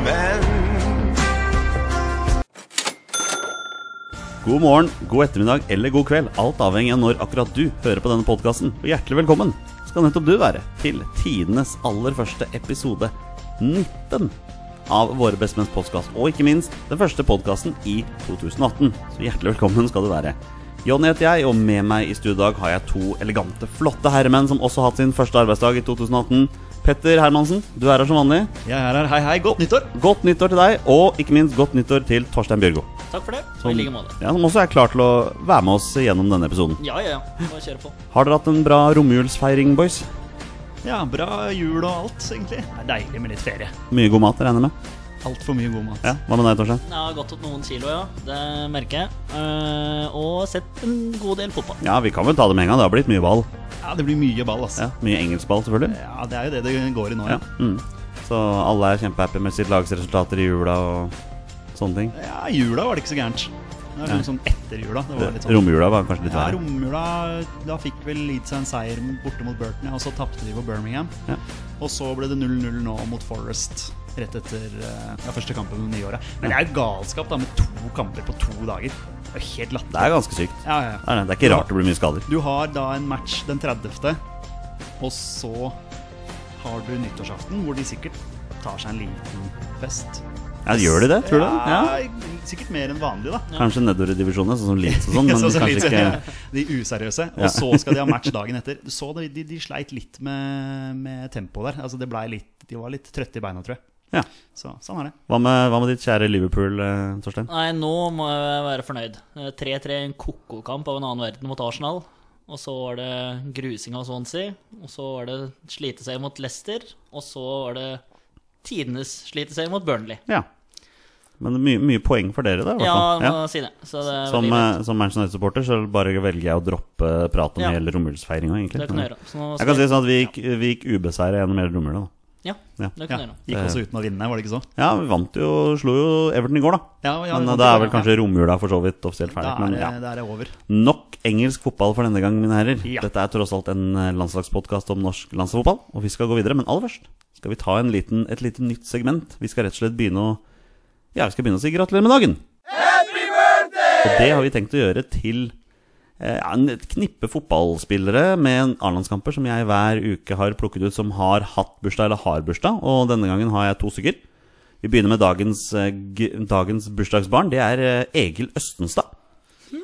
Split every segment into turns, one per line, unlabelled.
menn.
God morgen, god ettermiddag eller god kveld, alt avhengig av når akkurat du hører på denne podkasten. Og hjertelig velkommen skal nettopp du være til tidenes aller første episode 19 av Våre bestemenns podkast. Og ikke minst den første podkasten i 2018. Så hjertelig velkommen skal du være. Jonny heter jeg, og med meg i studio i dag har jeg to elegante, flotte herremenn som også har hatt sin første arbeidsdag i 2018. Petter Hermansen, du er her som vanlig.
Jeg er her. Hei, hei. Godt nyttår.
Godt nyttår til deg, og ikke minst godt nyttår til Torstein Bjørgo.
Takk for det.
Som-
I like måte.
Ja, Som også er klar til å være med oss gjennom denne episoden.
Ja, ja, ja. Bare kjøre på.
Har dere hatt en bra romjulsfeiring, boys?
Ja, bra jul og alt, egentlig. Det er deilig med litt ferie.
Mye god mat, regner jeg med?
Altfor mye god mat.
Ja, Hva med deg, Torstein?
Jeg har gått opp noen kilo, ja. Det merker jeg. Eh, og sett en god del fotball.
Ja, vi kan vel ta det med en gang. Det har blitt mye ball.
Ja, det blir mye ball, altså.
Ja, Mye engelskball, selvfølgelig.
Ja. det er jo det det går i nå. Ja.
Ja, mm. Så alle er kjempehappy med sitt lags resultater i jula og sånne ting.
ja, jula var det ikke så gærent. Det var
Ja.
liksom etter jula. Det var litt sånn.
Romjula var kanskje litt
Ja,
verre.
romjula Da fikk vel Leeds en seier borte mot Burton, ja, og så tapte de på Birmingham.
Ja.
Og så ble det 0-0 nå mot Forest. Rett etter eh, ja, første kampen på det nye året. Men det er jo galskap da med to kamper på to dager. Det er jo helt
Det
latterlig.
er ganske sykt.
Ja, ja, ja.
Det er, det. det er ikke rart det blir mye skader.
Du har da en match den 30. Og så har du nyttårsaften, hvor de sikkert tar seg en liten fest.
Ja, Gjør de det, tror du?
Ja,
Ja.
Sikkert mer enn vanlig, da.
Kanskje nedover i divisjonene, sånn som Leeds og sånn, men
Så- så
kanskje
litt-
ikke
De useriøse.
Ja.
Og så skal de ha match dagen etter. Du så det, de, de sleit litt med, med tempoet der. Altså det ble litt, de var litt trøtte i beina, tror jeg.
Ja.
Så sånn er det.
Hva med, hva med ditt kjære Liverpool, eh, Torstein?
Nei, nå må jeg være fornøyd. Eh, 3-3 i en koko-kamp av en annen verden mot Arsenal. Og så var det grusing av Swansea. Og så var det slite seg mot Leicester. Og så var det tidenes slite seg mot Burnley.
Ja. Men mye, mye poeng for dere, da. i hvert
Ja,
fall.
må si det. Så det er
Som,
veldig greit.
eh, som Manchester United-supporter så bare velger jeg å droppe prat om
Ja.
hele romjulsfeiringa, egentlig.
Det kan du gjøre. Så nå
Jeg
skal-
kan si sånn at vi gikk, vi gikk ubeseira gjennom hele romjula, da.
Ja,
Ja.
det kan
Ja,
du gjøre.
gikk også uten å vinne, var det ikke så?
Ja, vi vant jo, slo jo Everton i går, da.
Ja, ja,
Men
vi
eh,
vant
da
i
er
går,
vel kanskje romjula for så vidt offisielt ferdig.
Da er,
Men
det-
ja.
da er det over.
Nok engelsk fotball for denne gang, mine herrer.
Ja.
Dette er tross alt en eh, landslagspodkast om norsk landslagsfotball, og vi skal gå videre. Men aller først skal vi ta en liten, et lite nytt segment. Vi skal rett og slett begynne å Ja, vi skal begynne å si gratulerer med dagen. Happy birthday! Og det har vi tenkt å gjøre til eh, ja, en- et knippe fotballspillere med en A-landskamper som jeg hver uke har plukket ut som har hatt bursdag eller har bursdag, og denne gangen har jeg to stykker. Vi begynner med dagens, eh, g dagens bursdagsbarn. Det er eh, Egil Østenstad.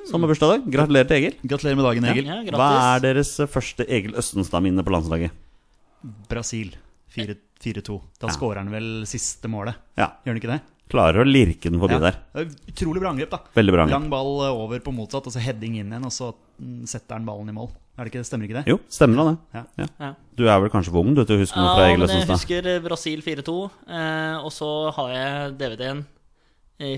Som har bursdag i dag. Gratulerer til Egil.
Gratulerer med dagen, Egil.
Ja,
Hva er
grattis.
deres eh, første Egil Østenstad-minne på landslaget?
Brasil 4 4-2. Da skårer han vel siste målet,
Ja,
gjør han ikke det?
Klarer å lirke den
Ja.
forbi der.
Det er Utrolig bra angrep, da.
Veldig bra angrep.
Lang ball eh, over på motsatt, og så heading inn igjen, og så mm, setter han ballen i mål. Er det ikke, stemmer ikke det?
Jo, stemmer da det.
Ja.
Ja.
Du er vel kanskje for ung du, til å huske noe fra
Ja,
Egil
men jeg
Østenstad?
husker Brasil 4-2. Eh, og så har jeg DVD-en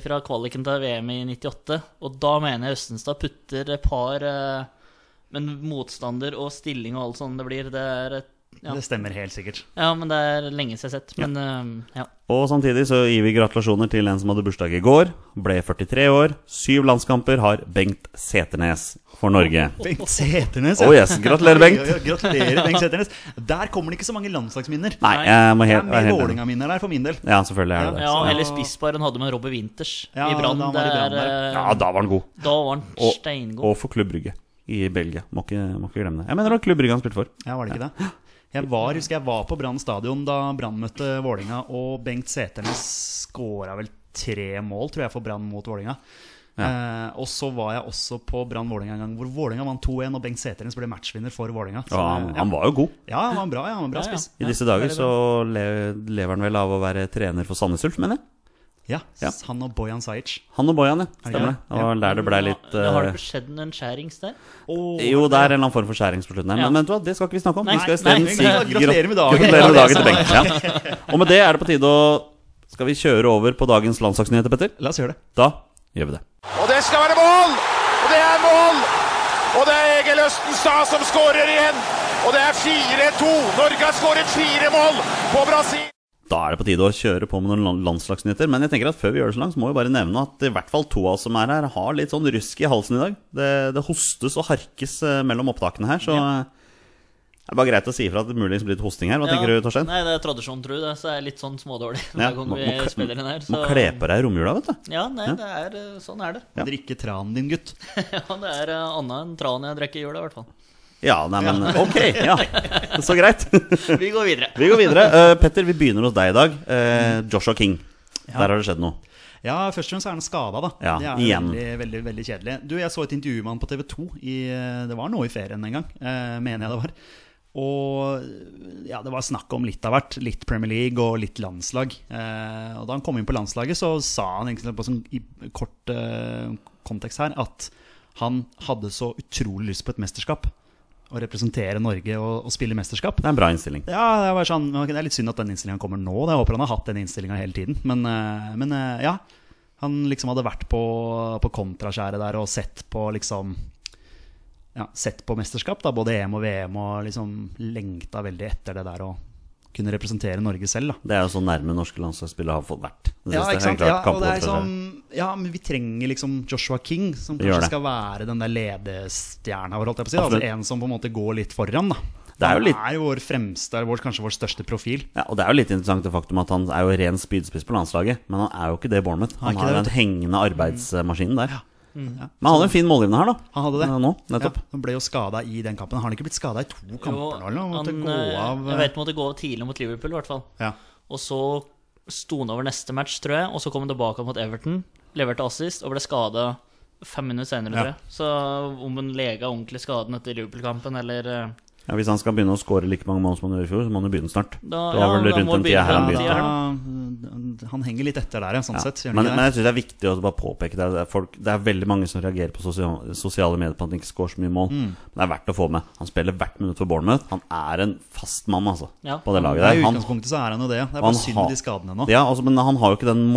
fra kvaliken til VM i 98. Og da mener jeg Østenstad putter et par eh, Men motstander og stilling og alt sånt det blir, det er et ja.
Det stemmer helt sikkert.
ja, men det er lenge siden jeg har sett. Men eh, ja.
Og samtidig så gir vi gratulasjoner til en som hadde bursdag i går. Ble 43 år. Syv landskamper har Bengt Seternes for Norge.
Bengt Seternes.
Oh yes, gratulerer, Bengt.
Oi, oi, oi, Gratulerer, Bengt Seternes. Der kommer det ikke så mange landslagsminner.
Nei, jeg må
Det er
helt,
mer
helt enig.
Vålerenga-minner der, for min del.
Ja, selvfølgelig er det det.
ja, eller spissbar hun hadde med Robbie Winters
Ja,
i Brann.
da var
Det
det Brann
er,
der.
Ja,
eh,
da var han god.
da var han
Og-
steingod.
Og for Klubb Brygge i Belgia. Må ikke, må ikke glemme det. Jeg mener det var Klubb Brygge han spilte for.
Ja, var det ikke det? Jeg var, husker jeg var på Brann stadion da Brann møtte Vålinga, og Bengt Seternes skåra vel tre mål, tror jeg, for Brann mot Vålinga. Eh, og så var jeg også på Brann Vålinga en gang, hvor Vålinga vant 2-1, og Bengt Seternes ble matchvinner for Vålinga. Så,
Ja, han,
eh,
han var jo god.
ja, han var en bra, ja, han var en bra
Ja, ja.
spiss.
I disse dager så le- lever han vel av å være trener for Sandnes Ulf, mener jeg.
Ja,
Ja.
Han og Bojan Sajic.
Han og Bojan, ja. Stemmer det.
Ja.
Det var der det blei litt
Ja, Har det
eh,
skjedd en skjærings der?
Og-
Jo, det er en eller annen form for skjæring på slutten her.
Ja.
Men vet du hva, det skal ikke vi snakke om.
Nei,
vi skal
nei,
isteden
vi
si
kan-
grat-
gratulerer med dagen.
Gratulerer med
Ja, det
dagen til Bengt. Ja. Og med det er det på tide å Skal vi kjøre over på dagens landslagsnyheter, Petter?
La oss gjøre det.
Da gjør vi det.
Og det skal være mål! Og det er mål! Og det er Egil Østenstad som skårer igjen. Og det er 4-2. Norge har skåret fire mål på Brasil.
Da er det på tide å kjøre på med noen lan- landslagsnyheter. Men jeg tenker at før vi gjør det så langt, så må vi bare nevne at i hvert fall to av oss som er her, har litt sånn rusk i halsen i dag. Det, det hostes og harkes eh, mellom opptakene her, så eh, Det er bare greit å si ifra at det muligens blir litt hosting her. Hva tenker du, Torstein?
Nei, det er tradisjon, tror jeg. det, Så jeg er litt sånn smådårlig hver
Ja,
gang
må-
vi
må kle-
spiller den her.
Må
så-
kle på deg i romjula, vet du.
Ja, nei, det er, eh, sånn er det.
Ja.
Drikke tranen din, gutt.
Ja, Det er eh, annet enn tran jeg drikker i jula, i hvert fall.
Ja, nei, men ok. Ja. Så greit.
Vi går videre.
Vi går videre. Eh, Petter, vi begynner hos deg i dag. Eh, Joshua King. Der har det skjedd noe.
Ja, først og fremst er han skada, da.
Ja,
det er
igjen.
Veldig, veldig, veldig kjedelig. Du, jeg så et intervju med han på TV 2. I, eh, det var nå i ferien en gang, eh, mener jeg det var. Og ja, det var snakk om litt av hvert. Litt Premier League og litt landslag. Eh, og da han kom inn på landslaget, så sa han egentlig på sånn, i kort eh, kontekst her at han hadde så utrolig lyst på et mesterskap. Å representere Norge og, og spille mesterskap.
Det er en bra innstilling.
Ja, det er, bare sånn, ok, det er litt synd at den innstillinga kommer nå. da. Jeg håper han har hatt den innstillinga hele tiden. Men, eh, men eh, ja, han liksom hadde vært på, på kontraskjæret der og sett på liksom ja, Sett på mesterskap, da, både EM og VM, og liksom lengta veldig etter det der å kunne representere Norge selv. da.
Det er jo så nærme norske landslagsspillere har fått vært. Det
Ja,
siste.
ikke sant?
Klart,
Ja, og det er
kampene for seg.
liksom, ja, men vi trenger liksom Joshua King, som
Vi gjør det.
kanskje skal være den der ledestjerna vår, holdt jeg på å si. da.
Absolutt.
Altså en som på en måte går litt foran, da.
Det er jo litt-
Han er jo vår fremste, eller vår, kanskje vår største profil.
Ja, og Det er jo litt interessant det faktum at han er jo ren spydspiss på landslaget, men han er jo ikke det i Bournemouth. Han
ikke
har
det,
jo
vet
den hengende arbeidsmaskinen der.
ja.
Men han hadde en fin målgivende her, da.
Han hadde det.
Eh, Nå, nettopp.
Ja, han ble jo skada i den kampen. Har han ikke blitt skada i to kamper
Jo,
nå? Eller? Han måtte
han,
gå
eh,
av eh,
Jeg vet han måtte gå av tidlig mot Liverpool, i hvert fall.
ja.
Og så sto han over neste match, tror jeg, og så kom han tilbake mot Everton. Leverte assist og ble skada fem minutter senere,
Ja.
tror jeg. Så eh, om han lega ordentlig skaden etter Liverpool-kampen, eller eh,
Ja, hvis han skal begynne å skåre like mange mål som han gjorde i fjor, så må han jo begynne snart.
da,
det var
da må
vel rundt den tida
begynne
her han
på den
begynte.
tida her, da.
da, Han henger litt etter der, ja, sånn
Ja.
sett. Gjør han
Men,
ikke
men
det?
jeg syns det er viktig å bare påpeke det. Det er, folk, det er veldig mange som reagerer på sosial, sosiale medier på at han ikke scorer så mye mål.
Mm.
Men det er verdt å få med. Han spiller hvert minutt for Bournemouth. Han er en fast mann, altså,
Ja.
på det laget
Nei, I
der. Han,
utgangspunktet så er han jo det. ja. Det er
han
bare synd
har-
med de skadene nå.
ja, altså, men han har jo ikke den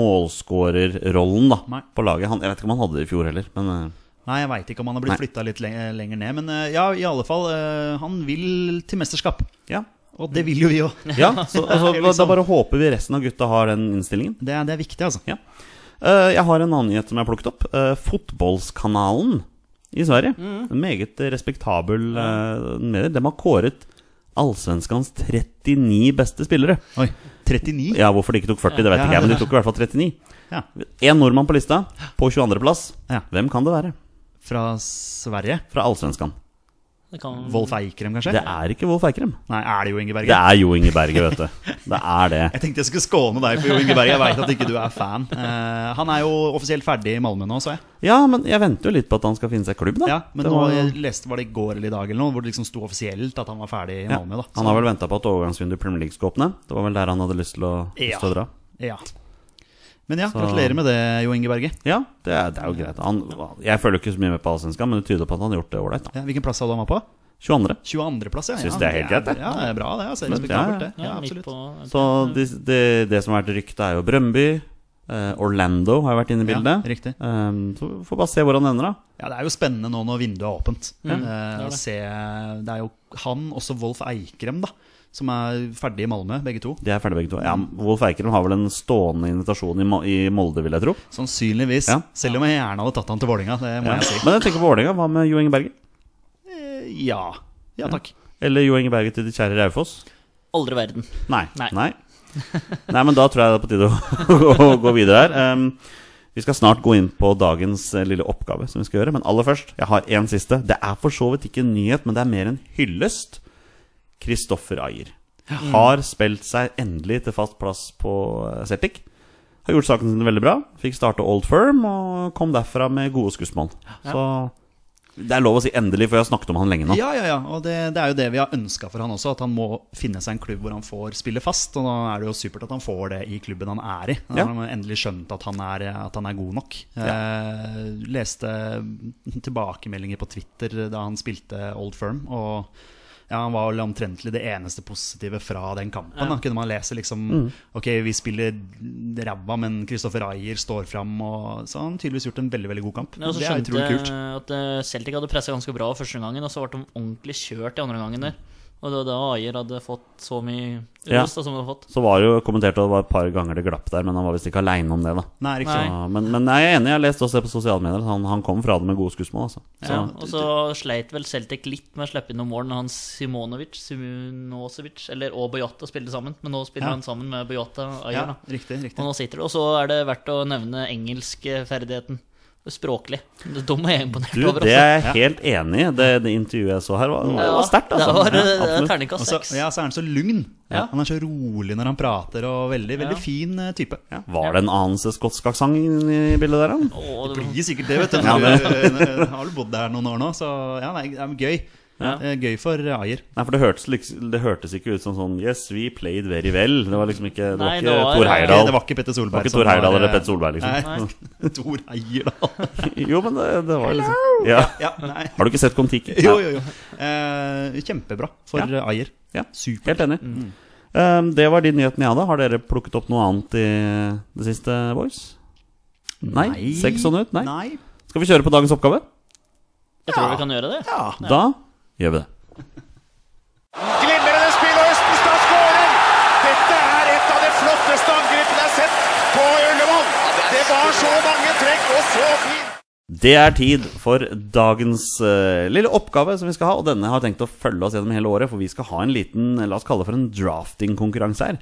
målskårerrollen da,
Nei.
på laget. Han, jeg vet ikke om han hadde det i fjor heller, men eh,
Nei, jeg veit ikke om han har blitt
Nei.
flytta litt le- lenger ned. Men eh, ja, i alle fall, eh, han vil til mesterskap.
ja.
Og det vil jo vi òg.
Ja, så,
Det
altså,
er
da,
liksom-
da bare håper vi resten av gutta har den innstillingen.
Det, er- det er viktig, altså.
Ja. Eh, jeg har en annen nyhet som jeg har plukket opp. Eh, fotballskanalen i Sverige.
Mm.
En meget respektabel uh, medier. De har kåret allsvenskans 39 beste spillere.
Oi. 39?
Ja, Hvorfor de ikke tok 40, det vet
Ja.
ikke jeg, men de tok i hvert fall 39.
Ja.
Én nordmann på lista, på 22.-plass.
Ja.
Hvem kan det være?
Fra Sverige?
Fra allsvenskan.
Det kan-
Wolf Eikrem, kanskje?
Det er ikke Wolf Eikrem.
Nei, er det Jo Inge
Det
Berge?
er Jo Inge Berge, vet du. Det er det.
Jeg tenkte jeg skulle skåne deg for Jo Inge Berge. Jeg veit at ikke du er fan. Eh, han er jo offisielt ferdig i Malmö nå, så jeg.
Ja, men jeg venter jo litt på at han skal finne seg klubb, da.
Ja, men
Det
nå
var-
jeg leste var det i går eller i dag eller noe, hvor det liksom sto offisielt at han var ferdig i
Ja,
Malmö. da. Så-
Han har vel venta på at overgangsvinduet i Premier League skal åpne. Det var vel der han hadde lyst til å, lyst til å dra.
Ja. Men ja, gratulerer med det, Jo Inge Berge.
Ja, det er, det er jo greit. Han, jeg følger ikke så mye med på Allsvenskan, men det tyder på at han har gjort det ålreit. da.
Ja, hvilken plass hadde han var på?
22.
22.-plass, ja.
Synes
ja,
det er helt greit, det.
Ja, det er bra, det. Altså,
Men-
respektabelt, det.
ja,
Ja,
midt
absolutt.
på-
Så det, det, det som har vært ryktet, er jo Brøndby. Eh, Orlando har jo vært inne i
Ja,
bildet.
riktig.
Eh, så vi får bare se hvor han ender, da.
Ja, det er jo spennende nå når vinduet er åpent.
Mm,
Eh,
det er
å
det.
se, det er jo han, også Wolf Eikrem, da, som er ferdig i Malmö, begge to.
De er ferdige begge to. Ja, Wolf Eikrem har vel en stående invitasjon i, Mo- i Molde, vil jeg tro.
Sannsynligvis.
Ja.
Selv om jeg gjerne hadde tatt han til Vålinga, det må
Ja.
jeg si.
Men jeg tenker på Vålerenga. Hva med Jo Inge Berge?
Eh, Ja. Ja, takk.
Eller Jo Inge Berge til de kjære Raufoss?
Aldri verden.
Nei. Nei.
Nei.
Nei. men da tror jeg det er på tide å, å gå videre her. Um, vi skal snart gå inn på dagens eh, lille oppgave, som vi skal gjøre. Men aller først, jeg har én siste. Det er for så vidt ikke en nyhet, men det er mer en hyllest. Kristoffer Ayer har spilt seg endelig til fast plass på eh, Celtic. Har gjort saken sin veldig bra. Fikk starte Old Firm og kom derfra med gode skussmål. Så det er lov å si endelig, for jeg har snakket om han lenge nå.
Ja, ja, ja. Og det, det er jo det vi har ønska for han også. At han må finne seg en klubb hvor han får spille fast. Og da er det jo supert at han får det i klubben han er i. Da
Ja.
har han endelig skjønt at han er, at han er god nok. Eh, leste tilbakemeldinger på Twitter da han spilte Old Firm. og ja, Han var vel omtrentlig det eneste positive fra den kampen. Da kunne man lese liksom
Mm.
Ok, vi spiller ræva, men Christoffer Ayer står fram. Og, så har han tydeligvis gjort en veldig veldig god kamp.
Ja, og så
det er
skjønte
utrolig
jeg
kult.
at eh, Celtic hadde pressa ganske bra første gangen, og så ble de ordentlig kjørt i andre gangen der. Og det var da Ayer hadde fått så mye
Ja.
ros da, som han hadde fått.
Så var det jo kommentert at det var et par ganger det glapp der, men han var visst ikke aleine om det, da.
Nei, riktig.
Nei.
Ja, men, men jeg er enig, jeg har lest også det på sosiale medier. at Han, han kom fra det med gode skussmål, altså. Så,
Ja, og så sleit vel Celtic litt med å slippe inn noen mål når han Simonovic, Simonosevic eller, og Bojota spilte sammen. Men nå spiller
Ja.
han sammen med Bojota og
Ja,
Ayer. da.
riktig,
Og
riktig.
nå sitter det. Og så er det verdt å nevne engelskferdigheten. Språklig. De er jeg imponert
Du,
over.
det
altså.
er jeg helt enig i. Det, det intervjuet jeg så her, var, det var sterkt, altså.
Det var
Ja,
eh,
absolutt.
Og
terningkast
så,
seks.
ja, så er han så lugn.
Ja.
Han er så rolig når han prater, og veldig,
Ja.
veldig fin eh, type.
Var det en annen skotsk aksent i i bildet der, da?
Å, det var-
Blir sikkert det, vet du. Når du har du bodd der noen år nå, så ja, nei, det er gøy.
Ja.
Eh, Gøy for Ayer.
Nei, for det hørtes, liksom, det hørtes ikke ut som sånn Yes, we played very well. Det var liksom ikke Det var
Nei,
ikke
det var-
Thor
Det
Heyerdahl.
var ikke Petter
Det var
Solberg.
ikke Thor Heyerdahl eller Petter Solberg, liksom.
Solberg. Tor Heyerdahl.
Jo, men det, det var liksom ja.
Ja, nei.
Har du ikke sett Kon-Tiki?
Jo, jo, jo. Eh, kjempebra for eh,
Ja.
Ayer.
Ja.
Supert.
Helt enig. Um, det var de nyhetene jeg hadde. Har dere plukket opp noe annet i det siste, boys? Nei? Ser ikke sånn ut? Nei.
Nei.
Skal vi kjøre på dagens oppgave?
Jeg tror vi kan gjøre det.
Ja.
Da gjør vi det.
Glimrende spill, og Østenstad skårer! Dette er et av de flotteste angrepene jeg har sett på Ullevål. Det var så mange trekk og så fint.
Det er tid for dagens eh, lille oppgave som vi skal ha, og denne har jeg tenkt å følge oss gjennom hele året, for vi skal ha en liten, la oss kalle det for en drafting-konkurranse her.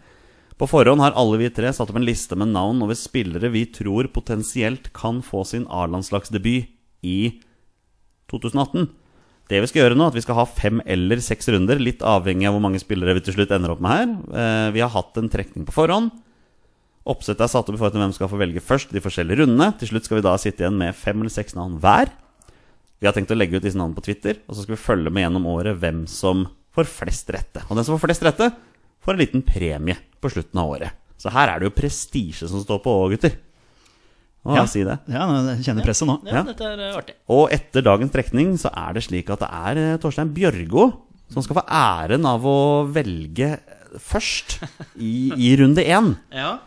På forhånd har alle vi tre satt opp en liste med navn over spillere vi tror potensielt kan få sin A-landslagsdebut i 2018. Det vi skal gjøre nå, er at vi skal ha fem eller seks runder, litt avhengig av hvor mange spillere vi til slutt ender opp med her. Eh, Vi har hatt en trekning på forhånd. Oppsettet er satt opp i forhold til hvem som skal få velge først de forskjellige rundene. Til slutt skal vi da sitte igjen med fem eller seks navn hver. Vi har tenkt å legge ut disse navnene på Twitter, og så skal vi følge med gjennom året hvem som får flest rette. Og den som får flest rette, får en liten premie på slutten av året. Så her er det jo prestisje som står på òg, gutter. Å,
Ja.
si det.
Ja, nå- jeg kjenner presset nå.
Ja, dette er eh, artig.
Og etter dagens trekning så er det slik at det er eh, Torstein Bjørgo som skal få æren av å velge først i, i runde én.
Ja.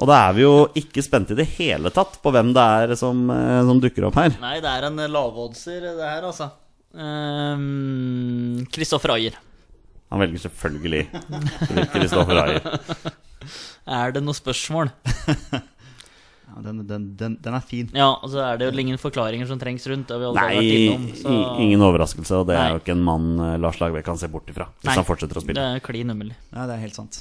Og da er vi jo ikke spente i det hele tatt på hvem det er som, eh, som dukker opp her.
Nei, det er en eh, lavoddser, det her, altså. Ehm, Kristoffer Ayer.
Han velger selvfølgelig Kristoffer Ayer.
Er det noe spørsmål?
Ja, den, den, den, den er fin.
Ja, og så er det jo ingen forklaringer som trengs rundt. Det har vi allerede
Nei,
vært innom. Så
i- ingen overraskelse, og det er
Nei.
jo ikke en mann eh, Lars Lagerbäck kan se bort ifra hvis
Nei.
han fortsetter å
det
spille.
er klin umulig.
Ja, det er helt sant.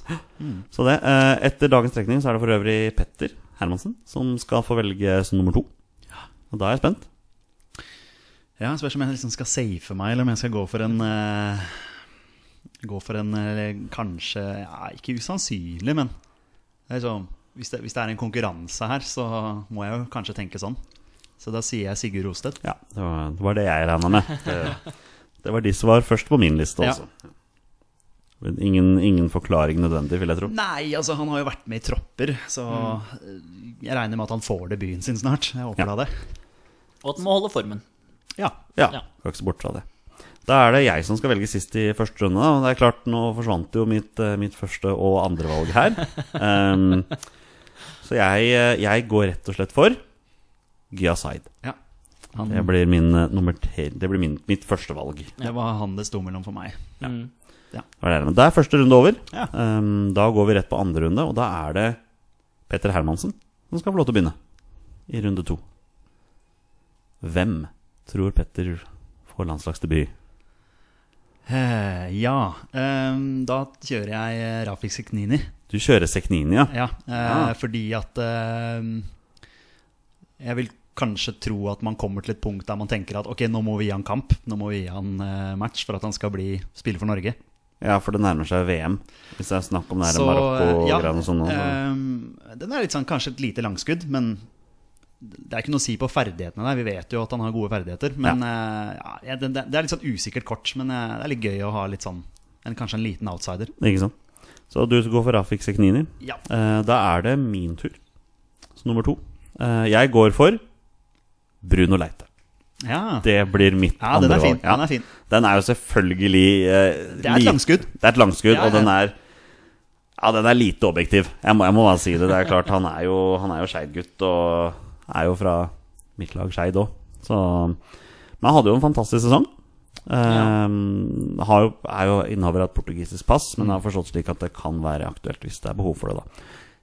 Så det, eh, Etter dagens trekning så er det for øvrig Petter Hermansen som skal få velge som nummer to. Og da er jeg spent.
Ja, Spørs om jeg liksom skal safe meg, eller om jeg skal gå for en eh, Gå for en eh, kanskje ja, Ikke usannsynlig, men det er sånn, hvis, det, hvis det er en konkurranse her, så må jeg jo kanskje tenke sånn. Så da sier jeg Sigurd Rostedt.
Ja, det var det, var det jeg regna med. Det, det var de som var først på min liste
Ja.
også. Men Ingen, ingen forklaring nødvendig, vil jeg tro.
Nei, altså han har jo vært med i tropper, så eh, jeg regner med at han får debuten sin snart. Jeg håper
Ja.
da det.
Og at den må holde formen.
Ja.
Ja,
Ja.
Skal ikke se bort fra det. Da er det jeg som skal velge sist i første runde. da. Og det er klart, Nå forsvant jo mitt, eh, mitt første og andre valg her. Ehm, så jeg, eh, jeg går rett og slett for Gyasaid.
ja. Han,
Det blir, min, eh, nummer tre, det blir min, mitt første valg.
det var han det sto mellom for meg.
Mm.
Hva er det her? Men Da er første runde over.
Ja.
Ehm, da går vi rett på andre runde, og da er det Petter Hermansen som skal få lov til å begynne i runde to. Hvem tror Petter får landslagsdebut?
Eh, ja, eh, da kjører jeg eh, Rafik Seknini.
Du kjører Sekhnini, ja.
Ja, eh,
Ja.
fordi at eh, Jeg vil kanskje tro at man kommer til et punkt der man tenker at ok, nå må vi gi han kamp, nå må vi gi han eh, match for at han skal bli spille for Norge.
Ja, for det nærmer seg VM. Hvis det er snakk om det her
Så, eh, ja,
Marokko-greiene og sånn. nå, så-
eh, den er litt sånn, kanskje et lite langskudd, men det er ikke noe å si på ferdighetene der. Vi vet jo at han har gode ferdigheter, men eh, ja, det, det er litt sånn usikkert kort. Men eh, det er litt gøy å ha litt sånn en, kanskje en liten outsider.
Ikke sant? Så du går for Rafik Sekhnini.
Ja.
Eh, Da er det min tur. Så nummer to. Eh, Jeg går for Bruno Leite.
Ja,
Det blir mitt
ja
andre
den er fin.
valg. Ja.
Den er fin.
Den er jo selvfølgelig eh,
Det er et
li-
langskudd.
Det er et langskudd,
Ja,
og den er Ja, den er lite objektiv. Jeg må, jeg må bare si det. Det er klart, han er jo, han er jo Skeid-gutt, og er jo fra mitt lag Skeid òg, så Men han hadde jo en fantastisk sesong. Ehm, har jo, er jo innehaver av et portugisisk pass, men har forstått slik at det kan være aktuelt hvis det er behov for det. da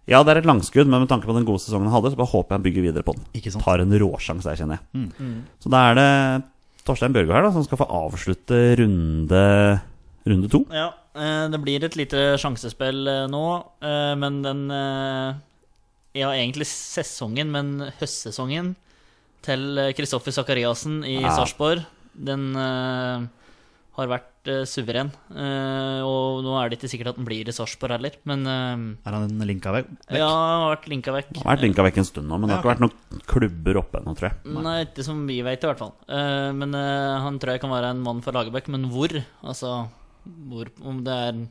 Ja, det er et langskudd, men med tanke på den gode sesongen han hadde, så bare håper jeg han bygger videre på den.
Ikke sant? Mm.
Tar en råsjanse der, kjenner jeg. Så da er det Torstein Børgo her da som skal få avslutte runde, runde to.
Ja, eh, det blir et lite sjansespill eh, nå, eh, men den eh, Ja, egentlig sesongen, men høstsesongen til eh, Kristoffer Sakariassen i
Ja.
Sarpsborg, den eh, har vært eh, suveren. Eh, Og nå er det ikke sikkert at den blir i Sarpsborg heller, men eh,
Er han en linka vekk?
ja, han har vært linka vekk.
Han har vært linka vekk en stund nå, men det har ikke vært noen klubber oppe ennå, tror jeg.
Nei, ikke som vi vet i hvert fall. Eh, men eh, han tror jeg kan være en mann for Lagerbäck, men hvor? Altså, hvor, om det er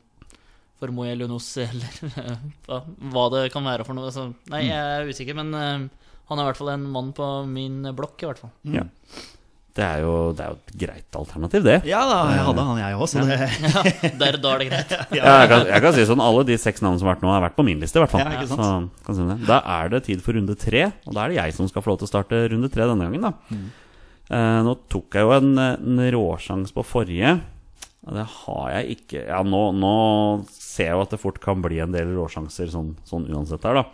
for Moel Jonos eller eh, hva, hva det kan være for noe. Altså, nei, jeg er usikker, men eh, han er i hvert fall en mann på min blokk, i hvert fall.
Mm.
Ja. Det, er jo, det er jo et greit alternativ, det.
Ja da, jeg hadde han jeg òg, så det
Ja, der, da er det greit.
Ja, jeg, kan, jeg kan si sånn, Alle de seks navnene som har vært nå, har vært på min liste. i hvert fall
Ja, ikke
Så, kan si det. Da er det tid for runde tre, og da er det jeg som skal få lov til å starte runde tre denne gangen. da eh, Nå tok jeg jo en, en råsjans på forrige. og Det har jeg ikke Ja, nå, nå ser jeg jo at det fort kan bli en del råsjanser sånn, sånn uansett her, da.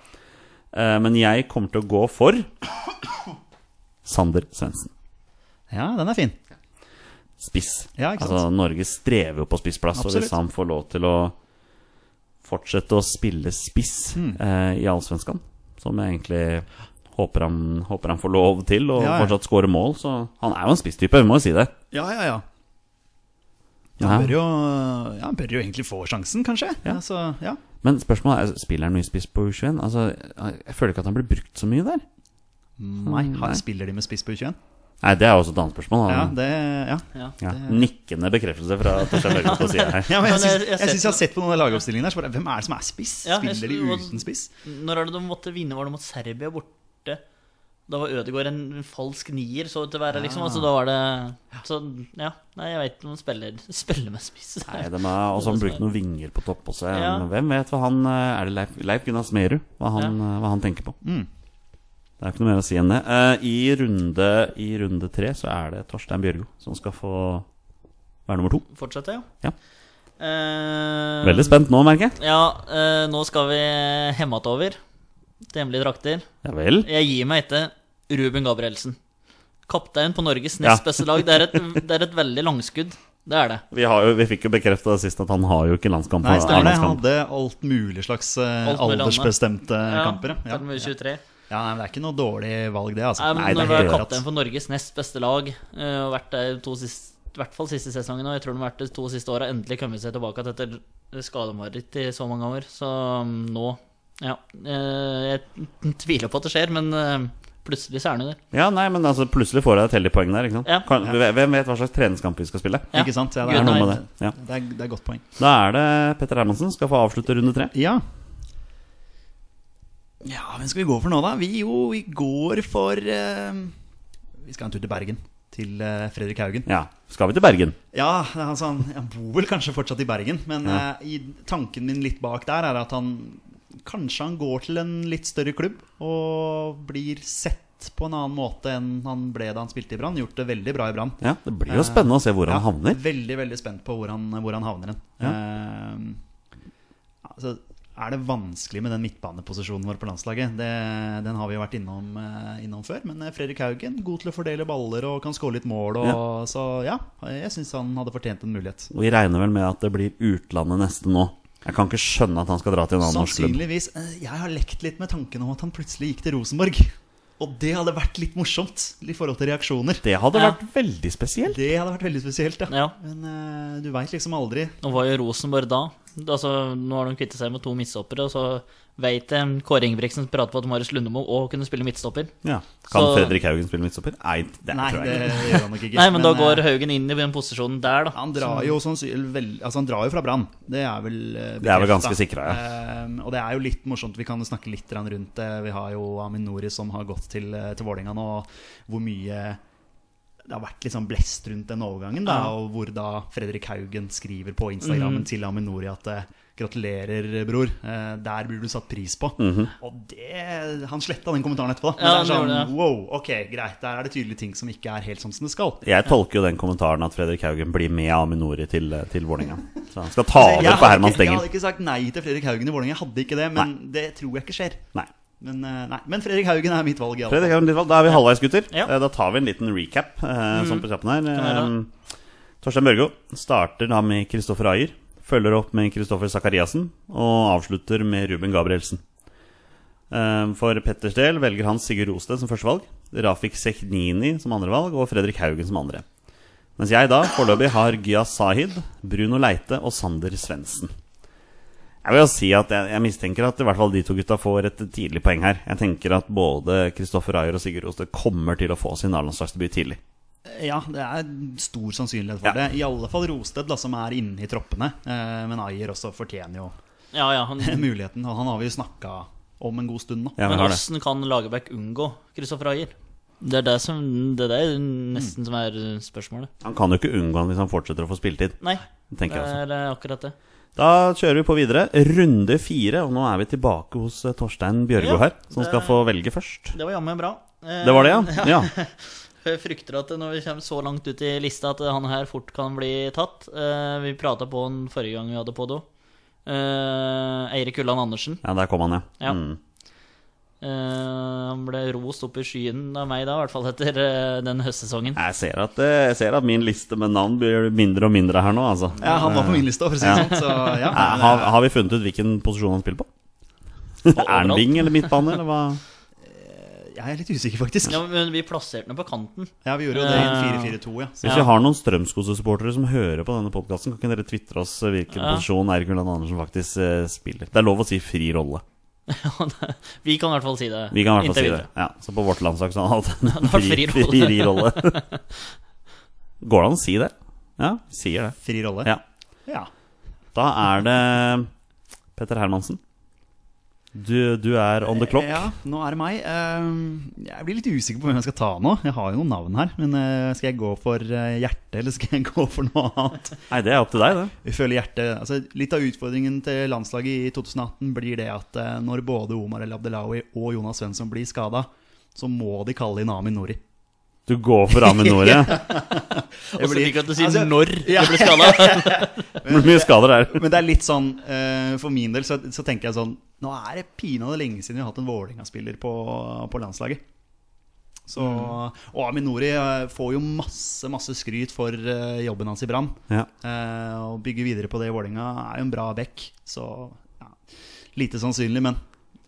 Eh, men jeg kommer til å gå for Sander Svendsen.
Ja, den er fin.
Spiss.
Ja, ikke sant?
Altså, Norge strever jo på spissplass, og
Absolutt.
hvis han får lov til å fortsette å spille spiss
Mm.
eh, i Allsvenskan, som jeg egentlig håper han, håper han får lov til, og
Ja, ja.
fortsatt skåre mål, så han er jo en spisstype, vi må jo si det.
Ja, ja, ja. Ja,
Ja.
Han bør jo, ja, han bør jo egentlig få sjansen, kanskje. Ja. Altså, ja.
Men spørsmålet er, spiller han mye spiss på U21? Altså, jeg føler ikke at han blir brukt så mye der.
Nei,
Nei.
han spiller de med spiss på U21?
Nei, det er også et annet spørsmål.
Ja,
da.
det, ja.
Ja.
ja. Nikkende bekreftelse fra Torstein Børgen på sida her.
ja men jeg
Men jeg-
syns
jeg
jeg,
ser-
syns jeg har sett på noen av lagoppstillingene her, så bare Hvem er det som er spiss?
Ja, jeg
spiller de
skulle-
uten spiss?
Når er det de måtte vinne? Var det mot Serbia borte? Da var Ødegaard en falsk nier, så ut til å være, liksom. Altså, da var det Så ja, nei, jeg veit ikke om han spiller, spiller med spiss.
Nei, de har også brukt noen vinger på topp også.
Ja.
Men hvem vet hva han eh, Er det Leif, Leif Gunnar Smerud? Hva, han, eh, hva han tenker på. Det er ikke noe mer å si enn det. Eh, I runde, I runde tre så er det Torstein Bjørgo som skal få være nummer to.
Fortsette, ja.
Ja.
Eh,
Veldig spent nå, merker jeg.
Ja, eh, nå skal vi hemmet over til hemmelige drakter.
Ja vel.
Jeg gir meg etter Ruben Gabrielsen. Kaptein på Norges
Ja.
nest beste lag. Det er, et, det er et veldig langskudd. Det er det.
Vi, har jo, vi fikk jo bekrefta sist at han har jo ikke landskamp.
Nei,
på-
stemmer det. Han
landskamp.
hadde alt mulig slags eh,
Alt mulig annet.
aldersbestemte kamper. Ja.
Selv om vi er 23.
ja, nei, men Det er ikke noe dårlig valg, det. altså
Nei, men
Nei, det
når
er
du er
helt rått.
kaptein for Norges nest beste lag, eh, og vært der to siste, i hvert fall siste sesongen, og jeg tror de har vært de to siste åra, endelig kommet seg tilbake at etter skademareritt i så mange år. Så mm, nå Ja. eh, Jeg tviler på at det skjer, men eh, plutselig så er han jo der.
Ja, nei, men altså Plutselig får jeg et heldig poeng der. ikke sant?
Ja.
Kan, Hvem vet hva slags treningskamp vi skal spille?
Ja.
Ikke sant? Ja,
Det er
Gud,
noe
nei.
med det. Ja.
Det er, det er godt poeng.
Da er det Petter Hermansen skal få avslutte runde tre.
Ja. ja, hvem skal vi gå for nå, da? Vi jo, vi går for eh, Vi skal en tur til Bergen. Til eh, Fredrik Haugen.
Ja, Skal vi til Bergen?
Ja, altså han, han bor vel kanskje fortsatt i Bergen, men
Ja.
eh, i tanken min litt bak der er at han kanskje han går til en litt større klubb og blir sett på en annen måte enn han ble da han spilte i Brann. Gjort det veldig bra i Brann.
Ja, Det blir jo spennende å se hvor han
Ja,
havner.
Veldig, veldig spent på hvor han, hvor han havner hen. Eh, altså, er det vanskelig med den midtbaneposisjonen vår på landslaget? Det, den har vi jo vært innom, eh, innom før. Men eh, Fredrik Haugen, god til å fordele baller og kan skåre litt mål. Og, Så ja, jeg syns han hadde fortjent en mulighet.
Og vi regner vel med at det blir utlandet neste nå. Jeg kan ikke skjønne at han skal dra til en annen norsk klubb.
Sannsynligvis. eh, Jeg har lekt litt med tanken om at han plutselig gikk til Rosenborg. Og det hadde vært litt morsomt i forhold til reaksjoner.
Det hadde
Ja.
vært veldig spesielt.
Det hadde vært veldig spesielt, ja.
Ja.
Men eh, du veit liksom aldri.
Nå var jo Rosenborg da. Altså, nå har de kvittet seg med to midtstoppere, og så veit jeg Kåre Ingebrigtsen prater på at Marius Lundemo òg kunne spille midtstopper.
Ja. Kan
Så-
Fredrik Haugen spille midtstopper? Nei, det
Nei,
tror
det
jeg ikke.
gjør han nok ikke.
Nei, men, da
eh,
går Haugen inn i den posisjonen der, da.
han drar, jo sannsynlig- vel, altså han drar jo fra Brann, det er vel eh,
Det er vel
bekreftet.
ganske sikra, ja.
Eh, og det er jo litt morsomt, vi kan jo snakke litt grann rundt det. Vi har jo Amin Nori som har gått til, eh, til Vålerenga nå. og Hvor mye det har vært litt sånn blest rundt den overgangen, da,
Ja. Mhm.
og hvor da Fredrik Haugen skriver på Instagrammen til Aminori at eh, gratulerer, bror. eh, Der blir du satt pris på. Og det, han sletta den kommentaren etterpå. Da. Men
Mhm. Ja,
det er
han gjorde
sånn,
det.
wow, ok, greit, der er det tydelige ting som ikke er helt sånn som det skal.
Jeg tolker jo den kommentaren at Fredrik Haugen blir med Aminori til, til Vålerenga. Så han skal ta
Altså, Jeg
over
hadde
for Ah, Herman
ikke- Jeg
Stengel.
hadde ikke sagt nei til Fredrik Haugen i Vålerenga, jeg hadde ikke det, men det tror jeg ikke skjer.
Nei.
Men, eh, nei. men Fredrik Haugen er mitt valg, i alle
Fredrik
fall.
Haugen Lidvall, da er vi halvveis, gutter.
Ja.
Eh, Da tar vi en liten recap. Eh, sånn på
Mm.
kjappen her
gjøre
eh, Torstein Børgo starter da med Kristoffer Ayer. Følger opp med Kristoffer Sakariassen. Og avslutter med Ruben Gabrielsen. Eh, for Petters del velger han Sigurd Rosted som førstevalg. Rafik Sekhnini som andrevalg. Og Fredrik Haugen som andre. Mens jeg da foreløpig har Gyas Sahid, Bruno Leite og Sander Svendsen. Jeg vil jo si at jeg, jeg mistenker at i hvert fall de to gutta får et tidlig poeng her. Jeg tenker at både Kristoffer Ayer og Sigurd Rosted kommer til å få sin A-landslagsdebut tidlig.
Ja, det er stor sannsynlighet for
Ja.
det. I alle fall Rosted, da, som er inne i troppene. Eh, Men Ayer også fortjener jo
Ja, ja, han,
muligheten, og han har vi jo snakka om en god stund nå.
Ja, vi
men
har det.
hvordan kan Lagerbäck unngå Kristoffer Ayer? Det er det, som, det er det
Mm.
nesten som er spørsmålet.
Han kan jo ikke unngå han hvis han fortsetter å få spilletid.
Nei, det
tenker jeg også.
er eh, akkurat det.
Da kjører vi på videre. Runde fire, og nå er vi tilbake hos eh, Torstein
Ja,
Bjørgo her, som skal
det-
få velge først.
Det var jammen bra. Eh,
Det var det, ja? Ja.
Jeg frykter at når vi kommer så langt ut i lista at han her fort kan bli tatt. Eh, vi prata på han forrige gang vi hadde på do. Eh, Eirik Ulland Andersen.
ja der kom han, ja.
Ja.
Mm.
Eh, han ble rost opp i skyen av meg da, i hvert fall etter eh, den høstsesongen.
Jeg ser, at, eh, jeg ser at min liste med navn blir mindre og mindre her nå, altså.
Ja, han var på min liste, for å si det sånn. Så ja.
Eh, Har, har vi funnet ut hvilken posisjon han spiller på? Er han
overalt.
wing eller midtbane, eller hva?
Jeg er litt usikker, faktisk.
Ja, men vi plasserte ham på kanten.
Ja, vi gjorde jo det i en 4-4-2, ja. Så
Hvis vi har noen Strømskose-supportere som hører på denne podkasten, kan ikke dere tvitre oss eh, hvilken
Ja.
posisjon Eirik Ulland Andersen faktisk eh, spiller? Det er lov å si fri rolle.
Ja, det- vi kan i hvert fall si det.
Vi kan i hvert fall
inntil
si det.
videre.
Ja, så på vårt landslag så har han hatt en
var
fri,
fri rolle.
fri rolle. Går det an å si det? Ja, sier det.
fri rolle.
Ja.
Ja.
Da er det Petter Hermansen. Du, du er on the clock.
ja, nå er det meg. Eh, Jeg blir litt usikker på hvem jeg skal ta nå. Jeg har jo noen navn her. Men eh, skal jeg gå for eh, hjertet, eller skal jeg gå for noe annet?
Nei, det er opp til deg, det.
Jeg føler hjertet, altså Litt av utfordringen til landslaget i 2018 blir det at eh, når både Omar El Abdelawi og Jonas Svensson blir skada, så må de kalle inn Amin Nori.
Du går for Aminore.
Og så
blir-
liker jeg at du sier
altså,
når
ja.
det ble skada.
Blir mye skader der.
Men det er litt sånn, eh, for min del så, så tenker jeg sånn Nå er det pinadø lenge siden vi har hatt en Vålerenga-spiller på, på landslaget. Så, Og Aminori eh, får jo masse masse skryt for eh, jobben hans i Brann.
Ja.
Eh, Å bygge videre på det i Vålerenga er jo en bra back, så ja, lite sannsynlig, men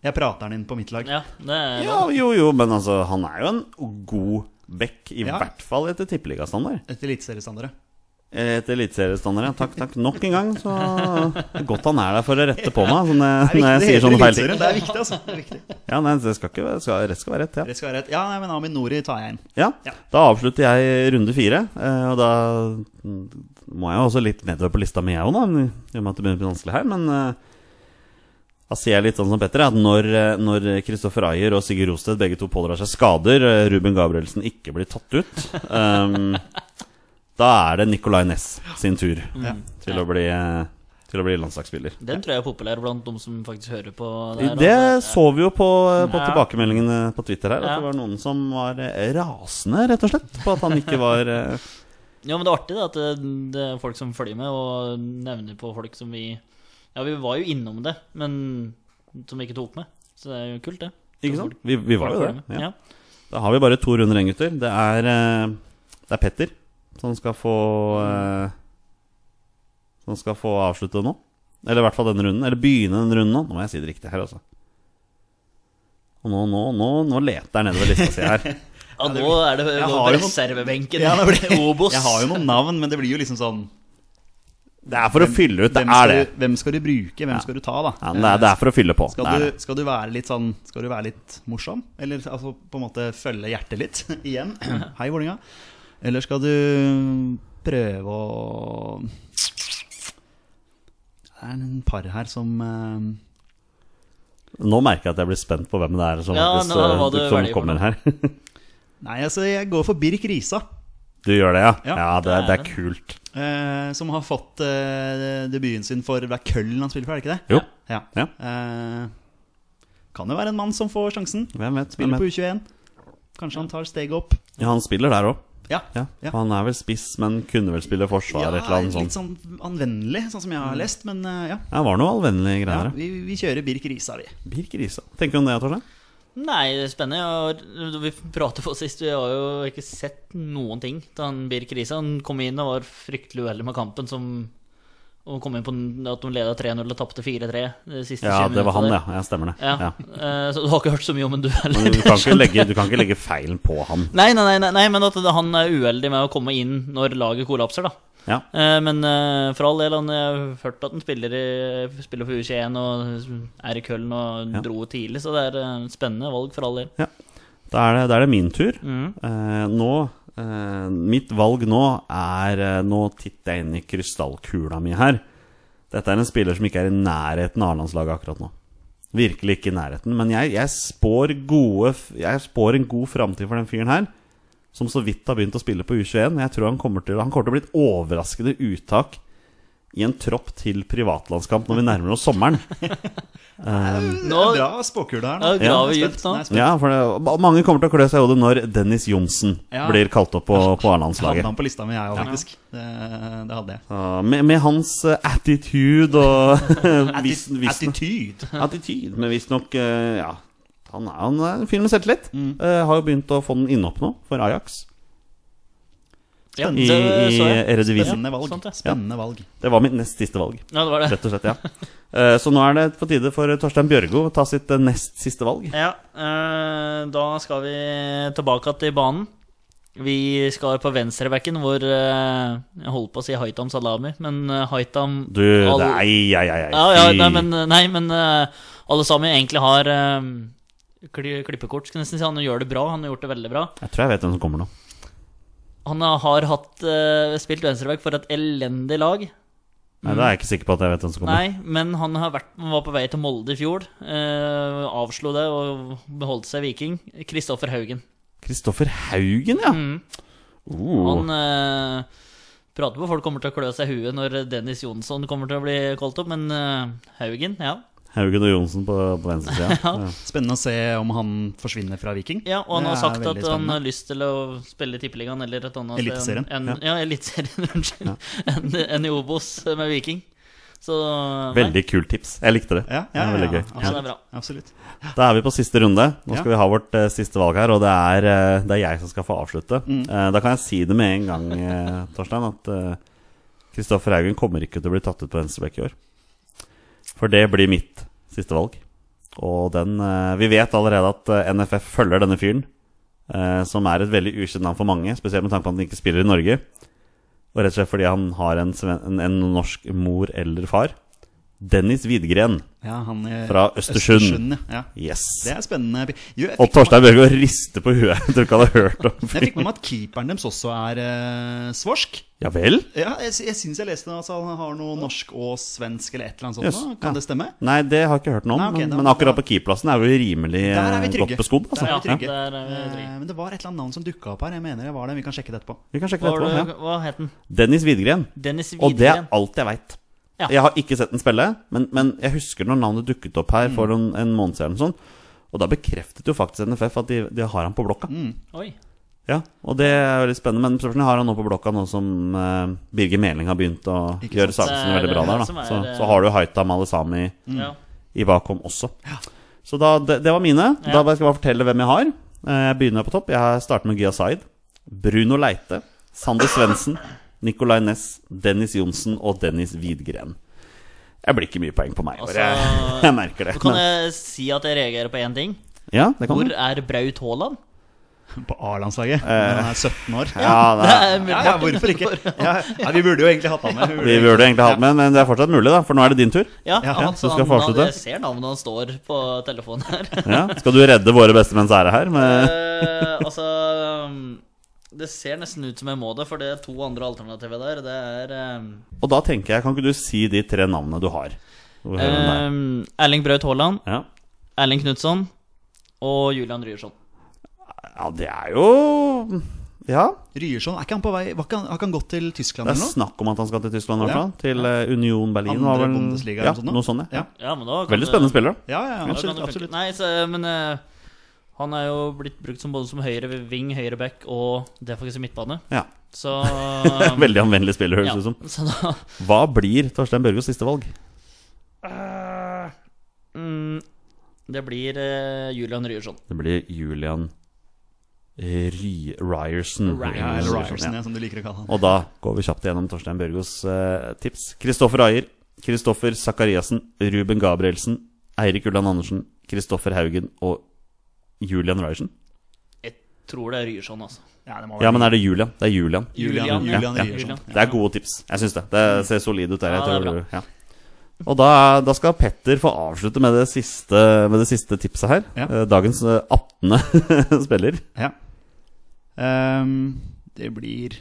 jeg prater han inn på mitt lag.
Ja, det er
Ja, jo, jo, men altså, han er jo en god back, i
Ja.
hvert fall etter tippeligastandard.
Etter eliteseriestandere.
Eller etter eliteseriestandard, ja. Takk, takk. Nok en gang, så det er godt han er der for å rette på meg sånn, eh,
det
når jeg sier
heter
sånne feil ting.
eliteserien. Det er viktig, altså. Det er viktig.
Ja, nei, det skal ikke være, skal, rett skal være rett, ja.
Det skal være et, ja, nei, men Aminori tar jeg inn.
ja.
Ja.
Da avslutter jeg runde fire, eh, og da mm, må jeg jo også litt nedover på lista mi, jeg òg, da. I og med at det begynner å bli vanskelig her, men eh, da sier jeg litt sånn som Petter, at når, eh, når Kristoffer Ayer og Sigurd Rosted begge to pådrar seg skader, eh, Ruben Gabrielsen ikke blir tatt ut, ehm, da er det Nicolay Næss sin tur
Ja.
til å bli, eh, til å bli landslagsspiller.
Mm. Den tror jeg er populær blant de som faktisk hører på. her,
Det
altså.
så vi jo på, eh, på
Ja.
tilbakemeldingene på Twitter her, at
Ja.
det var noen som var eh, rasende, rett og slett, på at han ikke var eh,
Ja, men det er artig det, at det, det er folk som følger med og nevner på folk som vi Ja, vi var jo innom det, men som vi ikke tok med. Så det er jo kult, det.
Ikke sant? Vi, vi var jo
Folk
det.
følger med.
Ja.
Ja.
Da har vi bare to runder igjen, gutter. Det er, eh, det er Petter som skal få eh, Som skal få avslutte nå. Eller i hvert fall denne runden. Eller begynne denne runden nå. Nå må jeg si det riktig her, altså. Og nå, nå, nå, nå leter jeg nedover lista si her.
Ja, nå er det
Jeg
nå
har jo noen-
reservebenken.
Ja, det blir-
Obos.
Jeg har jo noen navn, men det blir jo liksom sånn
Det er for å fylle ut, det
hvem skal,
er det.
Du, hvem skal du bruke, hvem skal du ta, da?
Ja, men det, er, det er for å fylle på.
Skal
Det er
du,
det.
skal du være litt sånn Skal du være litt morsom? Eller altså, på en måte følge hjertet litt igjen? Hei, Vålinga. Eller skal du prøve å Det er en par her som eh,
Nå merker jeg at jeg blir spent på hvem det er som,
Ja,
faktisk,
nå, hva
eh,
du
som
velger for
kommer her.
Nei, altså, jeg går for Birk Risa.
Du gjør det, ja? Ja,
Ja.
det, det er kult.
Eh, som har fått eh, debuten sin for det er Køllen han spiller for, er det ikke det?
Jo.
Ja.
Ja.
Eh, kan jo være en mann som får sjansen.
Hvem vet? Hvem
Spiller på
vet?
U21. Kanskje han tar steget opp.
Ja, han spiller der òg.
Ja.
Ja. Han er vel spiss, men kunne vel spille forsvar eller et eller annet
litt
sånt.
sånn anvendelig, sånn som jeg har lest, men eh, ja.
Ja, Det var noe allvennlige
ja
greier. Ja.
vi, vi kjører Birk Risa, vi.
Birk Risa. Tenker du om det, Torstein?
Nei, det er spennende. Og Vi pratet på sist, vi har jo ikke sett noen ting til han Birk Risa. Han kom inn og var fryktelig uheldig med kampen som og kom inn på den- at de leda 3-0 og tapte 4-3 de siste
Ja,
20
det var han,
minuttene
ja. ja stemmer det.
der. Ja.
Ja.
Eh, Så du har ikke hørt så mye om en duell?
Men Du, kan ikke legge, du kan ikke legge feilen på han.
Nei, nei, nei, nei, nei, men at han er uheldig med å komme inn når laget kollapser, da.
Ja.
Eh, Men eh, for all del, han, jeg har hørt at han spiller, i, spiller for U21 og er i Køln og
Ja.
dro tidlig, så det er eh, spennende valg for all del.
Da er det, da er det min tur.
Mm.
Eh, nå eh, Mitt valg nå er eh, Nå titter jeg inn i krystallkula mi her. Dette er en spiller som ikke er i nærheten av A-landslaget akkurat nå. Virkelig ikke i nærheten. Men jeg, jeg, spår, gode, f- jeg spår en god framtid for den fyren her. Som så vidt har begynt å spille på U21. Jeg tror han kommer til, han kommer til å bli et overraskende uttak i en tropp til privatlandskamp når vi nærmer oss sommeren.
Det
Nå-
er bra spåkule her
Ja,
nå.
graver
Jeg er
dypt
spent.
nå.
Nei, jeg er spent.
Ja, for det, Mange kommer til å klø seg i hodet når Dennis Johnsen
Ja.
blir kalt opp på, på
Hadde
A-landslaget.
han på lista mi, jeg òg, faktisk. Det, det hadde jeg.
Ja, med, med hans eh, attitude og vis, vis,
Attityd.
Attitude, men visstnok eh, Ja, han er, han er en fyr med selvtillit.
Mm.
Eh, har jo begynt å få den innopp nå, for Ajax.
Ja,
I,
det
i
så jeg.
Eredivisie.
Spennende valg.
Sant det.
Spennende valg.
Det var mitt nest siste valg,
Ja, det var det.
rett og slett. ja Eh, Så nå er det på tide for Torstein Bjørgo å ta sitt eh, nest siste valg.
Ja, eh, da skal vi tilbake til banen. Vi skal på venstrebacken, hvor eh, Jeg holdt på å si Haitam Salami, men eh, Haitam
Du, det
Al-
er ei, ei, ei, ei.
ja, ja,
fy.
nei, men, nei, men eh, alle sammen egentlig har eh, kli- klippekort, skal jeg nesten si. Han gjør det bra. Han har gjort det veldig bra.
Jeg tror jeg vet hvem som kommer nå.
Han har hatt, eh, spilt venstreback for et elendig lag.
Nei, Da er jeg ikke sikker på at jeg vet hvem som kommer.
Nei, men han, har vært, han var på vei til Molde i fjor. Eh, avslo det og beholdt seg Viking. Kristoffer Haugen.
Kristoffer Haugen, ja.
Mm.
Oh.
Han eh, prater på folk kommer til å klø seg i huet når Dennis Jonsson kommer til å bli kalt opp, men eh, Haugen, ja.
Haugen og Johnsen på, på venstresida. ja.
Spennende å se om han forsvinner fra Viking.
ja. Og han
Det
har
er
sagt
veldig
at han
spennende.
har lyst til å spille i Tippeligaen eller et annet
Eliteserien.
enn- enn- Ja, Eliteserien, unnskyld. Enn enn i Obos med Viking. Så nei.
Veldig kult tips. Jeg likte det.
Ja, ja,
det er veldig
ja,
gøy.
Ja, det er bra.
Absolutt.
Da er vi på siste runde. Nå skal
Ja.
vi ha vårt eh, siste valg her, og det er, eh, det er jeg som skal få avslutte.
Mm.
Eh, da kan jeg si det med en gang, eh, Torstein, at eh, Kristoffer Haugen kommer ikke til å bli tatt ut på venstreback i år. For det blir mitt siste valg. Og den eh, Vi vet allerede at eh, NFF følger denne fyren, eh, som er et veldig ukjent navn for mange, spesielt med tanke på at han ikke spiller i Norge. Og rett og slett fordi han har en, sve- en, en norsk mor eller far. Dennis Widgren
Ja, han i
fra Østersund.
ja. ja.
Yes.
Det er spennende. Jo, jeg
Og
fikk,
Torstein Bjørgo rister på huet. Jeg tror ikke han har hørt om
jeg fikk med meg at keeperen deres også er eh, svorsk.
Ja vel?
Ja, jeg, sy- jeg syns jeg leste at han har noe norsk og svensk eller et eller annet sånt.
Yes,
nå. Kan
ja.
det stemme?
Nei, det har jeg ikke hørt noe om.
Nei, ok,
men-
da-
men akkurat på keeperplassen er vi rimelig
Der er vi
eh,
trygge.
godt beskodd. Altså.
Der er vi
Ja.
trygge.
Ja, der er vi
Eh,
trygge.
men det var et eller annet navn som dukka opp her. Jeg mener det var det. Vi kan sjekke det etterpå.
Vi kan sjekke
Hva,
det
var
etterpå.
det-
Ja.
hva het den?
Dennis Widgren.
Dennis Widgren.
Og det er alt jeg veit.
Ja.
Jeg har ikke sett den spille, men, men jeg husker når navnet dukket opp her for en, en måned siden. eller Sånn. Og da bekreftet jo faktisk NFF at de, de har han på blokka.
Mm.
Oi.
Ja, Og det er jo litt spennende. Men spørsmålet er, har han nå på blokka nå som eh, Birger Meling har begynt å
Ikke
gjøre
sant. Det
sakene
er
veldig bra
det
der.
som
da
er,
Så,
eh,
så har du Haitam Alesami
Ja.
i bakhånd også. Så da, det, det var mine.
Ja.
Da bare skal jeg bare fortelle hvem jeg har. Eh, Jeg begynner på topp. Jeg har startet med Gia Zaid, Bruno Leite, Sander Svendsen, Nicolay Næss, Dennis Johnsen og Dennis Widgren. Jeg blir ikke mye poeng på meg. i år, jeg,
Altså,
jeg merker det.
Så kan
men-
jeg si at jeg reagerer på én ting.
ja, det kan
Hvor
du.
er Braut Haaland?
På A-landslaget. når Han er 17 år.
Eh. Ja, det er,
Det er
Ja, ja, hvorfor ikke? Ja, ja, vi burde jo egentlig hatt han med. Vi burde
vi
egentlig-
burde egentlig hatt med, men det er fortsatt mulig, da. For nå er det din tur.
Ja,
Ja,
han,
så skal jeg
han-
fortsette.
Jeg ser navnet han står på telefonen her.
Ja. Skal du redde våre bestemenns ære her? Med,
Eh, altså um, Det ser nesten ut som jeg må det, for det er to andre alternativer der. Det er um,
og da tenker jeg, kan ikke du si de tre navnene du har? Hvor hører den der?
um, Erling Braut Haaland,
Ja.
Erling Knutson og Julian Ryerson.
Ja, det er jo Ja,
Ryerson, er ikke han på vei Var ikke han, har ikke han gått til Tyskland
Det er
eller noe?
snakk om at han skal til Tyskland, i hvert
Ja.
fall. Til eh, Union Berlin.
Andre
var vel-
Bundesliga eller noe
ja,
sånt nå?
noe sånt.
Ja,
Ja.
Eh,
Ja, men da kan
Veldig
det-
spennende spillere.
ja, ja, ja
da kan
absolutt.
det funke.
absolutt.
Nei, så, men eh, han er jo blitt brukt som både som høyre ving, høyre back og defensiv midtbane.
Ja.
Så
um,
Veldig anvendelig spiller, høres
ja,
det ut som.
Så da
Hva blir Torstein Børgos siste valg?
mm, Det blir eh, Julian Ryerson.
Det blir Julian Ry Ryerson.
Ja,
Ryerson.
Ryerson,
eller Ryerson,
ja.
ja, som du liker å kalle han.
Og da går vi kjapt gjennom Torstein Børgos eh, tips. Kristoffer Ayer, Kristoffer Sakariassen, Ruben Gabrielsen, Eirik Ulland Andersen, Kristoffer Haugen og Julian Ryerson.
Jeg tror det er Ryerson, altså.
Ja, det må
Ja, men er det Julian? Det er Julian.
Julian,
Julian,
Julian
ja.
Ryerson.
Det er gode tips. Jeg syns det. Det ser solid ut der.
Ja,
Jeg
det er
tror, ja. Og da, da skal Petter få avslutte med det siste, med det siste tipset her.
Ja.
Eh, Dagens eh, 18. spiller.
Ja. Ehm, det blir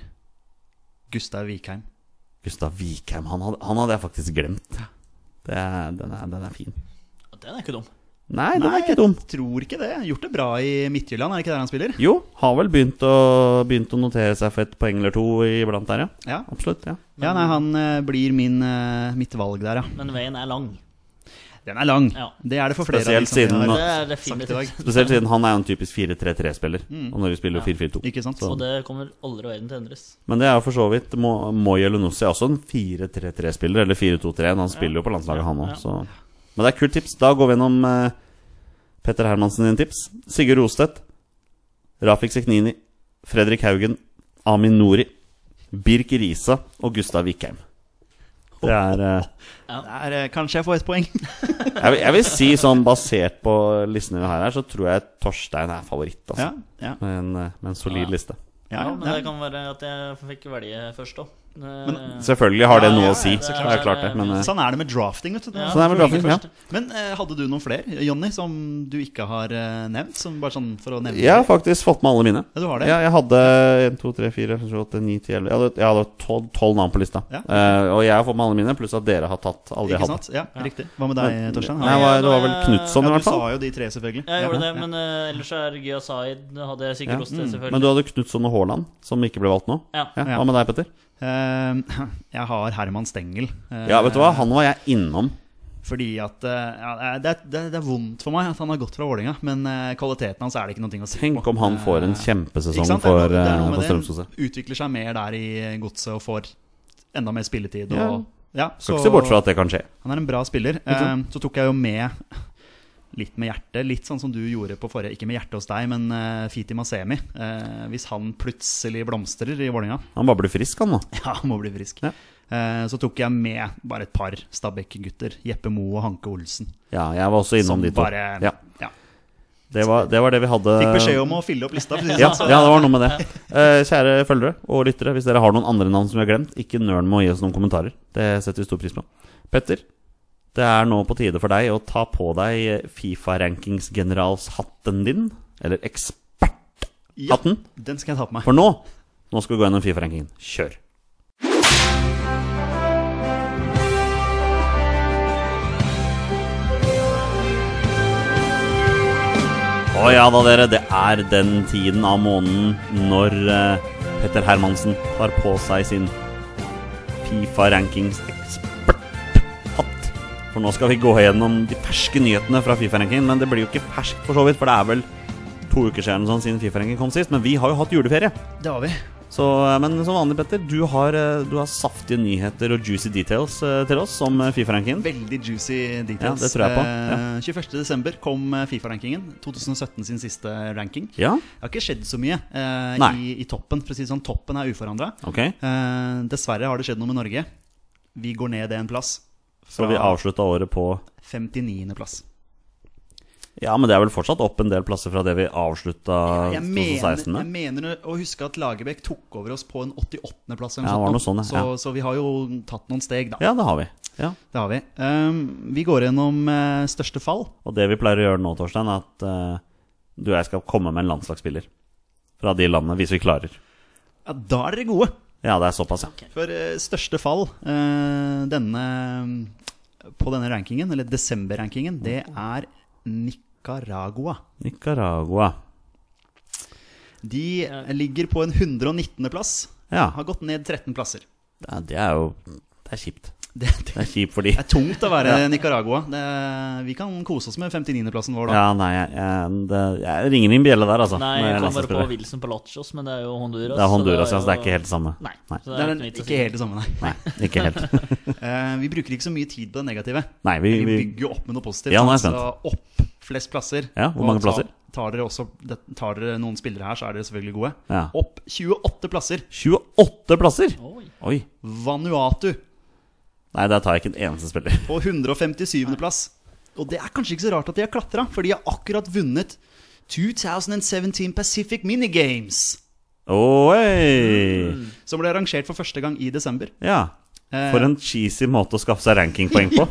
Gustav Vikheim.
Gustav Vikheim. Han hadde, han hadde jeg faktisk glemt. Det er, den, er, den er fin.
Ja, Den er ikke dum.
Nei, den er ikke dum.
Jeg tror ikke det. Gjort det bra i Midtjylland, er det ikke der han spiller?
Jo, har vel begynt å, begynt å notere seg for et poeng eller to iblant der, ja.
Ja,
Absolutt. ja
ja nei, han eh, blir min, eh, mitt valg der, ja.
Men veien er lang.
Den er lang.
Ja.
Det er det for flere
Spesielt
av de som
siden
vi
Det
har
er
sagt i dag.
definitivt.
Spesielt siden han er jo en typisk 4-3-3-spiller. Og Norge spiller jo 4-4-2.
Ikke sant?
Og det kommer aldri verden til å endres.
Men det er jo for så vidt Mo- Moi Elunussi er også en 4-3-3-spiller, eller 4-2-3. Han spiller jo på landslaget, han
Ja.
òg, så Men det er kult tips. Da går vi gjennom eh, Petter Hermansen sine tips. Sigurd Rostedt. Rafik Sekhnini. Fredrik Haugen. Amin Nori. Birk Risa og Gustav Vikheim. Det er eh,
Der, eh, kanskje jeg får ett poeng.
jeg, vil, jeg vil si sånn basert på listene vi har her, så tror jeg Torstein er favoritt, altså.
ja, ja,
Med, en, eh, med en solid
Ja.
liste.
ja,
Ja, men
ja.
det kan være at jeg fikk velge først, da. Eh,
Selvfølgelig har det
Ja,
noe
ja,
å si.
ja, så
det
klart.
er jo klart det. Men eh,
Sånn er det med drafting. vet du
Ja.
sånn er vel drafting. Ja.
Men eh, hadde du noen flere, Jonny, som du ikke har eh, nevnt? Som bare sånn for å nevne
Jeg har faktisk fått med alle mine.
Ja, du har det?
Ja, jeg hadde 1, 2, 3, 4, 5, 8, 9, 10, 11 Jeg hadde, jeg hadde 12, navn på lista.
Ja.
Eh, og jeg har fått med alle mine, pluss at dere har tatt alle de jeg
Ikke
hadde.
sant? Ja, riktig. Hva med deg, Torstein?
Nei, det var, det var vel
ja,
Knutson,
du
i hvert fall.
sa jo de tre, selvfølgelig.
Jeg gjorde det,
Ja.
men eh, ellers er Gya Zaid det hadde jeg
Ja, Mm.
sikkert Rosted,
Men
selvfølgelig.
du hadde Knutson og Haaland, som ikke ble valgt nå.
Ja.
Ja,
Ja.
Hva med deg, Petter?
Eh, jeg har Herman Stengel. eh,
Ja, vet du hva, han var jeg innom.
Fordi at eh, ja, det, er- det, er- det er vondt for meg at han har gått fra Vålinga men eh, kvaliteten hans er det ikke noe å si
Tenk om han får en
Eh, Ikke
kjempesesong
sant?
for,
det er
eh,
noe
for
med
Strømsgodset.
det. Utvikler seg mer der i eh, godset og får enda mer spilletid. Og,
Ja.
ja.
Skal ikke se bort fra at det kan skje.
Han er en bra spiller.
sant?
Eh, Så tok jeg jo med litt med hjertet, litt sånn som du gjorde på forrige Ikke med hjertet hos deg, men eh, Fiti Masemi. Eh, hvis han plutselig blomstrer i Vålinga
Han bare blir frisk, han nå.
ja, han må bli frisk.
Ja.
Eh, Så tok jeg med bare et par Stabæk-gutter. Jeppe Moe og Hanke Olsen.
Ja, jeg var også innom
Som
de to.
bare
Ja,
ja.
det, var, det var det vi hadde.
Fikk beskjed om å fylle opp lista. for å si det
Eh, ja,
sånn, så-
ja, det var noe med det. Eh, kjære følgere og lyttere, hvis dere har noen andre navn som vi har glemt, ikke nøl med å gi oss noen kommentarer. Det setter vi stor pris på. Petter, det er nå på tide for deg å ta på deg Fifa-rankingsgeneralshatten din. Eller eksperthatten.
Ja, Den skal jeg ta på meg.
For nå, nå skal vi gå gjennom Fifa-rankingen. Kjør. Å ja da, dere. Det er den tiden av måneden når eh, Petter Hermansen tar på seg sin Fifa-rankings-eksperthatt. For nå skal vi gå gjennom de ferske nyhetene fra Fifa-rankingen. Men det blir jo ikke ferskt, for så vidt, for det er vel to uker siden sånn, siden Fifa-rankingen kom sist. Men vi har jo hatt juleferie.
Det har vi.
Så, eh, men som vanlig, Petter, du har, eh, du har saftige nyheter og juicy details eh, til oss om eh, Fifa-rankingen.
Veldig juicy
Ja,
details.
det tror jeg på,
Eh, 21.12. kom eh, Fifa-rankingen. 2017 sin siste eh, ranking.
Ja,
Det har ikke skjedd så mye eh,
Nei.
i, i toppen. For å si det sånn, Toppen er uforandra.
ok.
Eh, dessverre har det skjedd noe med Norge. Vi går ned en plass.
Så vi avslutta året på
59. plass.
Ja, men det er vel fortsatt opp en del plasser fra det vi avslutta
Jeg mener,
2016
jeg
med.
mener å huske at Lagerbäck tok over oss på en 88. plass. eller
Ja,
noe
det var
sånt
noe
nå.
sånn, ja.
så, så vi har jo tatt noen steg, da.
Ja, det har vi. Ja.
Det har vi. Ehm, vi går gjennom eh, største fall.
Og det vi pleier å gjøre nå, Torstein, er at eh, du og jeg skal komme med en landslagsspiller fra de landene, hvis vi klarer.
Ja, da er dere gode.
Ja, det er såpass, ja.
For eh, største fall eh, denne, på denne rankingen, eller desember-rankingen, det er Nicaragua.
Nicaragua.
De ligger på en 119.-plass.
Ja,
Har gått ned 13 plasser.
det er- det er jo Det er kjipt.
Det,
Det
det
er kjipt fordi
er tungt å være Nicaragua. Det, vi kan kose oss med 59.-plassen vår, da.
Ja, nei, jeg, jeg, det, jeg ringer inn bjelle der, altså.
Nei,
med
jeg kom bare på
landslagsspillere.
Wilson Palacios, men det er jo Honduras.
Det er Honduras,
så
ja, så det er ikke helt det samme.
Nei.
Nei.
så
Det er
ikke noe
den,
vits å
ikke helt det samme, nei.
Nei, ikke helt.
Eh, vi bruker ikke så mye tid på det negative.
Nei, vi,
Vi
vi
bygger jo opp med noe positivt.
Ja, nå er jeg
sant? Så opp flest plasser.
Ja, hvor
Og
mange
ta-
plasser?
Tar dere, også, det- tar dere noen spillere her, så er dere selvfølgelig gode.
Ja.
Opp 28 plasser.
28 plasser!
si. Oi.
Oi.
Vanuatu
Nei, der tar jeg ikke en eneste spiller.
på 157. plass. Og det er kanskje ikke så rart at de har klatra, for de har akkurat vunnet 2017 Pacific Minigames.
Oi!
Som ble arrangert for første gang i desember.
Ja. For en cheesy måte å skaffe seg rankingpoeng på.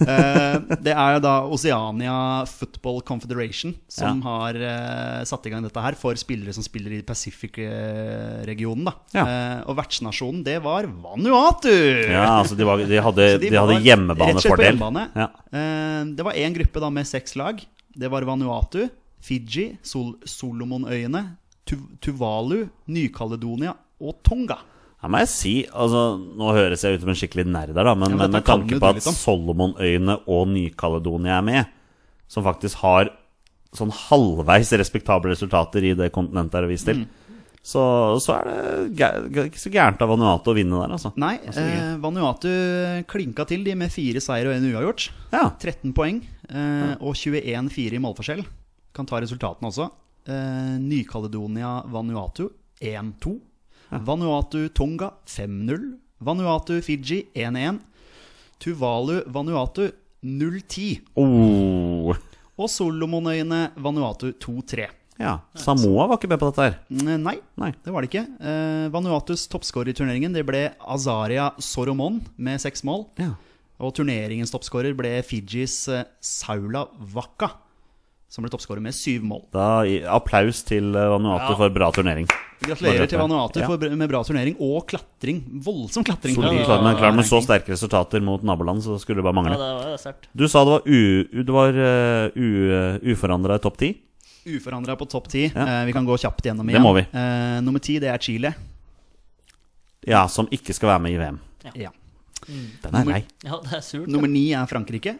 Eh, det er jo da Oceania Football Confederation som
Ja.
har eh, satt i gang dette her for spillere som spiller i Pacific-regionen. da
Ja.
Eh, Og vertsnasjonen, det var Vanuatu!
Ja, altså, de, var, de hadde,
Så
de
var
hadde
rett og slett på
hjemmebanefordel.
hjemmebane.
Ja.
Eh, Det var én gruppe da med seks lag. Det var Vanuatu, Fiji, Sol Solomonøyene, tu Tuvalu, Ny-Caledonia og Tonga.
Her må jeg si, altså, Nå høres jeg ut som en skikkelig nerd her, da, men,
Ja, men
men
dette
med
kan jo
tanke
du
på at
litt om.
Solomonøyene og Ny-Kaledonia er med, som faktisk har sånn halvveis respektable resultater i det kontinentet her er vist til,
Mm.
så, så er det gæ- gæ- ikke så gærent av Vanuatu å vinne der, altså.
Nei,
Altså, ikke-
eh, Vanuatu klinka til de med fire seier og en uavgjort.
Ja.
13 poeng eh, og 21-4 i målforskjell. Kan ta resultatene også. Eh, Ny-Caledonia Vanuatu 1-2. Vanuatu Tonga 5-0. Vanuatu Fiji 1-1. Tuvalu Vanuatu 0-10.
Oh.
Og Solomonøyene Vanuatu 2-3.
ja. Samoa var ikke med på dette her.
Eh, Nei,
Nei.
det var det ikke. Eh, Vanuatus toppskårer i turneringen Det ble Azaria Soromon med seks mål.
Ja.
Og turneringens toppskårer ble Fijis eh, Saula Waka, som ble toppskårer med syv mål.
Da, i- applaus til eh, Vanuatu
Ja.
for bra turnering.
Gratulerer til Vanuatu
Ja.
for, med bra turnering og klatring. Voldsom klatring.
Solid
Ja,
klart, men klart med så
ranking.
sterke resultater mot naboland, så skulle det bare
Ja,
mangle.
det var det er sterkt.
Du sa det var, u, u- det var eh, u, uforandra i topp ti.
Uforandra på topp ti.
Ja.
Eh, vi kan gå kjapt gjennom
Det
igjen.
må vi.
Eh, nummer ti, det er Chile.
Ja, som ikke skal være med i VM.
Ja.
Den er lei.
Ja, det er surt.
Nummer ni er Frankrike.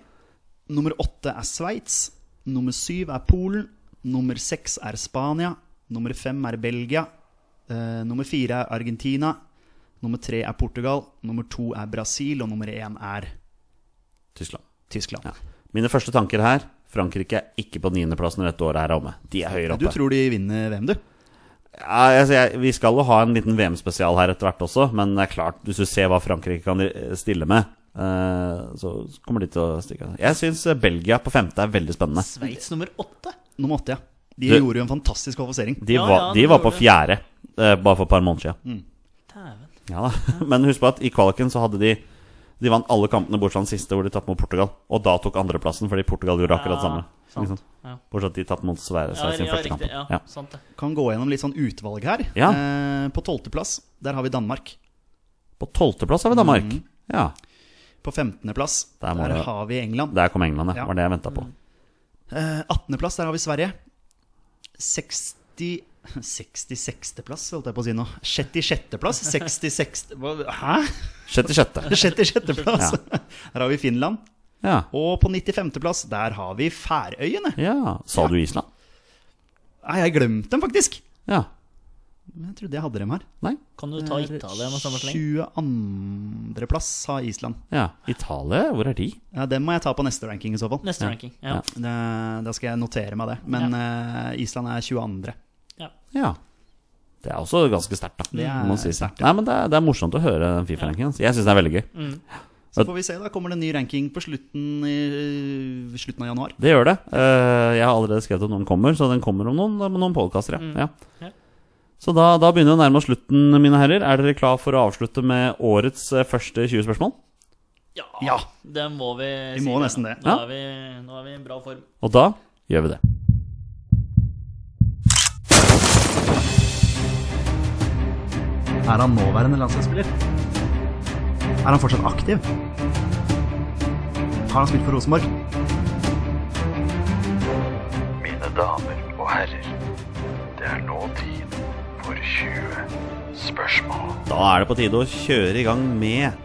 Nummer åtte er Sveits. Nummer syv er Polen. Nummer seks er Spania. Nummer fem er Belgia. Eh, nummer fire er Argentina. Nummer tre er Portugal. Nummer to er Brasil. Og nummer én er
Tyskland.
Tyskland.
Ja. Mine første tanker her Frankrike er ikke på niendeplass når dette året her er omme. De er høyere
Eh, Du
oppe.
tror de vinner VM, du?
Ja, altså, jeg, vi skal jo ha en liten VM-spesial her etter hvert også, men det er klart, hvis du ser hva Frankrike kan eh, stille med, eh, så kommer de til å stikke av. Jeg syns eh, Belgia på femte er veldig spennende.
Sveits nummer åtte.
Nummer åtte, ja. De
Du-
gjorde jo en fantastisk kvalifisering.
De,
Ja,
var,
ja,
de
det
var på
gjorde de.
fjerde eh, bare for et par måneder siden.
Dæven.
Ja da. Men husk på at i kvaliken så hadde de De vant alle kampene bortsett fra den siste, hvor de tapte mot Portugal. Og da tok andreplassen, fordi Portugal gjorde akkurat
Ja,
det samme.
sant.
Ikke sant?
Ja.
Bortsett at de tatt mot Sverige
Ja,
Sverige sin
ja,
første kamp.
riktig. Ja,
Ja.
sant det.
Kan gå gjennom litt sånn utvalg her.
Ja.
Eh, på tolvteplass, der har vi Danmark.
På tolvteplass har vi Danmark.
Mm.
Ja.
På femtendeplass,
Der
der,
må det-
har vi England.
Der kom England, ja.
Ja.
Var det jeg venta på.
Eh, 18. plass, der har vi Sverige. 60 66. plass, holdt jeg på å si nå. 66. plass? 66. hva- Hæ?
66.
66. plass. Der har vi Finland.
Ja.
Og på 95. plass, der har vi Færøyene.
ja. Sa du Island?
Nei, jeg glemte dem faktisk.
Ja.
Jeg trodde jeg hadde dem her.
Nei?
Kan du
Eh,
ta Italia med samme sleng?
22. plass har Island.
Ja. Italia? Hvor er de?
Ja, dem må jeg ta på neste ranking i så fall.
Neste ranking. Ja.
Ja.
Eh, Da skal jeg notere meg det. Men eh, Island er 22.
Ja.
Ja. Det er også ganske sterkt, da.
Det er
må sies.
sterkt,
Nei, men det er, det er morsomt å høre den Fifa-rankingen. hans. Jeg syns den er veldig gøy.
Så får vi se, da kommer det en ny ranking på slutten, i, slutten av januar.
Det gjør det. Eh, jeg har allerede skrevet at noen kommer, så den kommer om noen, om noen podkaster. Ja.
Mm. Ja.
Ja. Så da, da begynner vi å nærme oss slutten, mine herrer. Er dere klar for å avslutte med årets eh, første 20 spørsmål?
Ja,
Ja.
det må vi
Vi
si
må
nå.
nesten det.
Nå
Ja.
er, vi, nå er vi i bra form.
Og da gjør vi det.
Er han nåværende landslagsspiller? Er han fortsatt aktiv? Har han spilt for Rosenborg?
Mine damer og herrer, det er nå tid for 20 spørsmål.
Da er det på tide å kjøre i gang med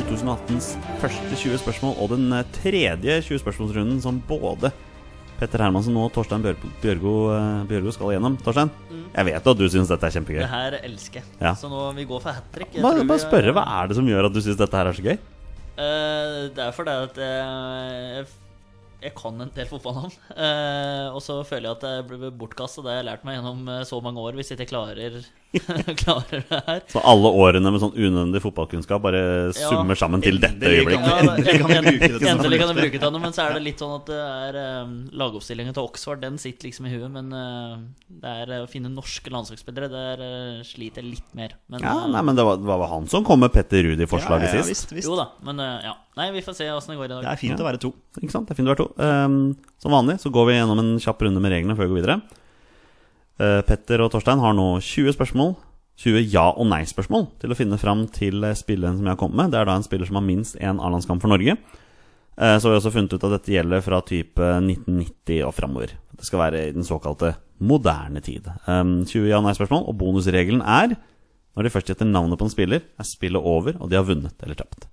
2018s første 20 spørsmål og den eh, tredje 20 spørsmålsrunden som både Petter Hermansen og Torstein Bjør Bjørgo, eh, Bjørgo skal gjennom. Torstein, jeg vet at du syns dette er kjempegøy.
Mm. Det her elsker jeg.
Ja.
Så nå vi går for hat trick. Jeg
Bare,
tror
bare
vi-
spørre, hva er det som gjør at du syns dette her er så gøy?
Eh, det er fordi at eh, jeg, jeg kan en del fotballnavn. Eh, og så føler jeg at jeg blir bortkasta. Det har jeg lært meg gjennom eh, så mange år, hvis jeg ikke klarer, klarer det her.
Så alle årene med sånn unødvendig fotballkunnskap bare
Ja.
summer sammen til dette
Endelig kan-
øyeblikk.
Ja,
Endelig kan jeg bruke det til noe
Endelig kan jeg
fornuftig.
bruke det til noe, men så er det litt sånn at det er um, lagoppstillingen til Oxford, den sitter liksom i huet, men eh, det er eh, å finne norske landslagsspillere, der eh, sliter jeg litt mer. Men,
Ja,
eh,
nei, men det var, det var han som kom med Petter Ruud i forslaget
Ja, ja,
sist.
visst, visst.
Jo da, men eh, ja. Nei, vi får se åssen det går i dag.
Det er fint å være to.
Ikke sant? Det er fint å være to. Ehm, som vanlig så går vi gjennom en kjapp runde med reglene før vi går videre. Eh, Petter og Torstein har nå 20 spørsmål. 20 ja- og nei-spørsmål til å finne fram til eh, spilleren som jeg har kommet med. Det er da en spiller som har minst én A-landskamp for Norge. Eh, Så har vi også funnet ut at dette gjelder fra type 1990 og framover. Det skal være i den såkalte moderne tid. Ehm, 20 ja- og nei-spørsmål, og bonusregelen er når de først gjetter navnet på en spiller, er spillet over, og de har vunnet eller tapt.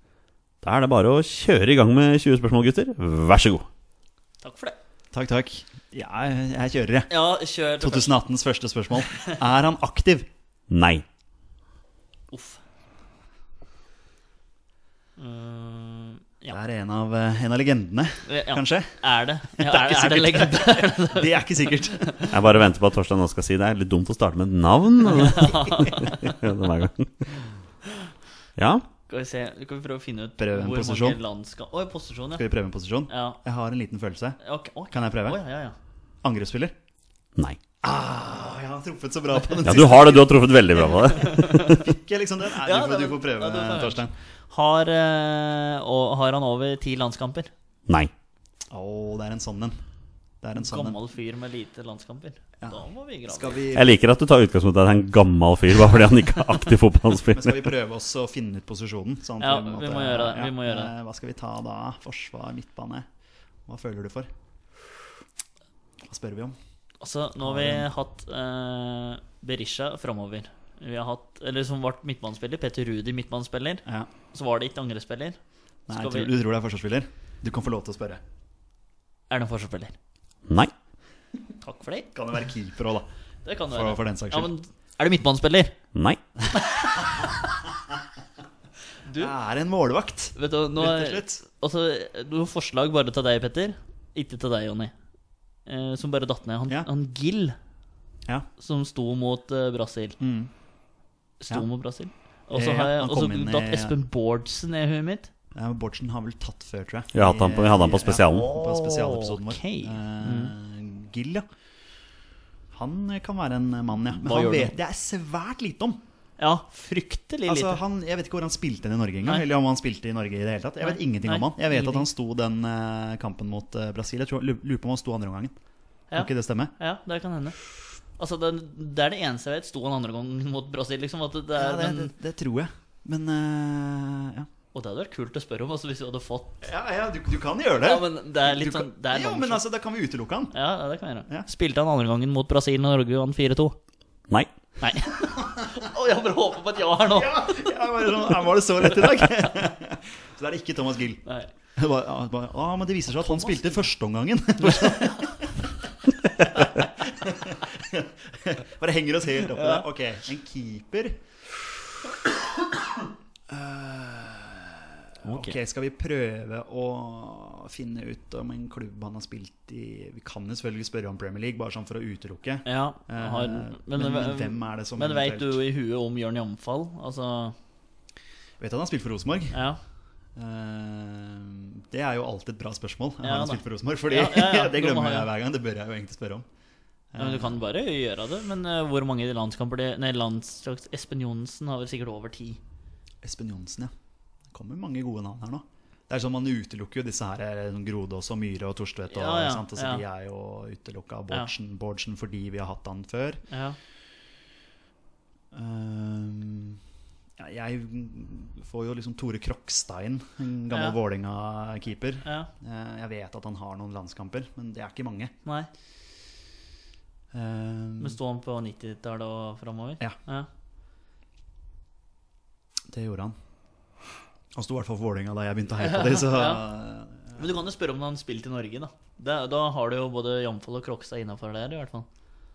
Da er det bare å kjøre i gang med 20 spørsmål, gutter. Vær så god.
Takk for det.
Takk, takk. Ja, jeg kjører, jeg.
Ja, kjør.
2018s første spørsmål. Er han aktiv?
Nei.
Uff. Mm, ja.
Det er en av, eh, en av legendene,
ja.
kanskje?
Er det? Ja,
er ikke
er, er det
sikkert.
legende?
Det er ikke sikkert.
Jeg bare venter på at Torstein nå skal si det. er litt dumt å starte med et navn. Hver gang. Ja.
Skal vi se, kan vi prøve å finne ut
Prøv en
hvor
posisjon.
mange land skal Oi, posisjon, ja.
Skal vi prøve en posisjon?
ja.
Jeg har en liten følelse.
Ok, ok.
Kan jeg prøve?
Oi, ja, ja.
Angrepsspiller?
Nei.
Å, jeg har truffet så bra på den
Ja, du har det. Du har truffet veldig bra på det.
ikke, liksom den. Nei,
Ja,
du, får,
det
du
var-
får prøve,
ja, det var-
Torstein.
Har, eh, og, har han over ti landskamper?
Nei.
Å, det er en sånn en. Det er en sånn en.
Gammel fyr med lite landskamper. Da må vi grave.
Skal vi,
Jeg liker at du tar utgangspunkt i at det er en gammel fyr bare fordi han ikke er aktiv
men skal
fotballspiller.
vi prøve oss å finne ut posisjonen? sånn at
Ja,
på en
vi må gjøre det, vi må gjøre det.
eh, Hva skal vi ta da? Forsvar, midtbane? Hva føler du for? Hva spør vi om?
Altså, nå har vi hatt eh, Berisha framover. Vi har hatt, eller som ble midtbanespiller, Peter Rudi midtbanespiller.
Ja.
Så var det ikke angrespiller.
Nei,
Skal
tror,
vi-
Du tror det er forsvarsspiller? Du kan få lov til å spørre.
Er det en forspiller?
Nei.
Takk for det.
Kan det være keeper òg, da?
Det kan det
For-
være.
for den saks
Ja,
skyld.
men er det midtbanespiller?
Nei.
Du-
Det er en målvakt,
Vet du, nå
rett og slett.
Altså, noen forslag bare til deg, Petter. Ikke til deg, Jonny. Eh, som bare datt ned. Han,
Ja.
han Gill,
Ja. Mm.
som sto mot eh, Brasil. Sto
Ja.
mot Brasil. Og så
Ja,
har jeg
han
og så
kom inn i-
datt Espen Bårdsen ned i huet mitt.
Ja, men Bårdsen har vel tatt før, tror jeg.
Vi hadde han på- vi hadde han på
I-
spesialen.
Ja, på spesialepisoden vår.
Ok. Mm.
Eh, Gill, ja. Han kan være en mann, ja. Men
Hva
han
gjør
vet jeg svært lite om.
Ja, fryktelig
Altså,
lite.
han, jeg vet ikke hvor han spilte den i Norge engang.
Nei.
Eller om han spilte i Norge i det hele tatt. Jeg vet
Nei.
ingenting om
Nei.
han. Jeg vet at
Ingenting.
han sto den eh, kampen mot eh, Brasil. Jeg tror, lurer på om han sto andre omgangen. Kan
Ja.
ikke det stemme?
Ja, det kan hende. Altså, det, det er det eneste jeg vet. Sto han andre gangen mot Brasil, liksom? At det
Ja,
er,
det, det,
men,
det tror jeg. Men eh, ja.
og det hadde vært kult å spørre om, altså, hvis vi hadde fått
Ja, ja du, du kan gjøre det.
Ja, men det er
Du
litt
kan-
sånn det er
jo,
lang
men
shot.
altså, da kan vi utelukke han.
Ja, ja, det kan jeg gjøre.
Ja.
Spilte han andre gangen mot Brasil når Norge vant 4-2?
Nei.
Nei. Å, jeg bare håper på et ja her nå.
Ja, jeg var, sånn, ja, var det så lett i dag? Så da er det ikke Thomas Gill.
Nei.
Det var, ja, bare, ah, men det viser seg at han spilte førsteomgangen. Bare henger oss helt opp i det. Ok, en keeper. Eh, ok, skal vi prøve å finne ut om en klubb han har spilt i Vi kan jo selvfølgelig spørre om Premier League, bare sånn for å utelukke.
Ja,
Eh,
har, men,
men hvem er det som
Men veit
eventuelt-
du i huet om Jørn Jamfall? Altså,
Vet du han har spilt for Rosenborg?
ja.
Eh, Det er jo alltid et bra spørsmål. Jeg
Ja,
har
da.
spilt for Rosenborg, fordi
Ja, ja, ja,
det
du må
glemmer
ha,
jeg
ja.
hver gang. Det bør jeg jo egentlig spørre om.
Ja, men Du kan bare gjøre det. Men eh, hvor mange landskamper det Nei, landslags Espen Johnsen har vel sikkert over ti.
Espen Johnsen, ja. Det kommer mange gode navn her nå. Det er sånn Man utelukker jo disse her eh, sånn Grodås og Myhre og Torstvedt. Og,
Ja, ja,
ikke sant? Altså,
ja.
De er jo utelukka av Bårdsen, Bårdsen fordi vi har hatt han før.
Ja.
Ehm, ja, jeg får jo liksom Tore Krokstein, en gammel
Ja.
Vålerenga-keeper.
ja.
Eh, jeg vet at han har noen landskamper, men det er ikke mange.
Nei.
Eh,
Men sto han på 90-tallet og framover?
Ja. det gjorde han. Han sto i hvert fall for Vålerenga da jeg begynte å heie på dem, så
Men du kan jo spørre om han spilte i Norge, da. Det, da har du jo både Jamfall og Krokstad innafor der, i hvert fall.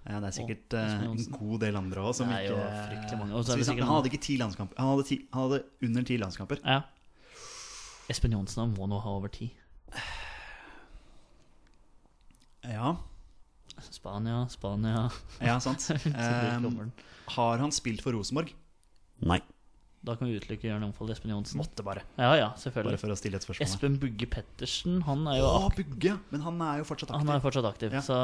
Ja, det er sikkert
Og
eh,
Espen
en
Johnsen.
god del andre òg som
Det er jo
ikke
fryktelig mange. Og så
Så
er
vi
det
snakker-
sikkert
Han hadde ikke ti landskamper. Han hadde, ti, han hadde under ti landskamper.
Ja. Espen Johnsen han må nå ha over ti.
Ja,
Spania, Spania
ja sant.
blir
Eh,
dommeren.
har han spilt for Rosenborg?
Nei.
Da kan vi utelukke Jørn Omfold Espen Johnsen.
Måtte bare.
Ja, ja,
Bare
selvfølgelig.
for å stille et spørsmål.
Espen Bugge Pettersen, han er jo
Å,
ak
Bugge! Men han er jo fortsatt
han
aktiv.
er fortsatt aktiv,
Ja.
så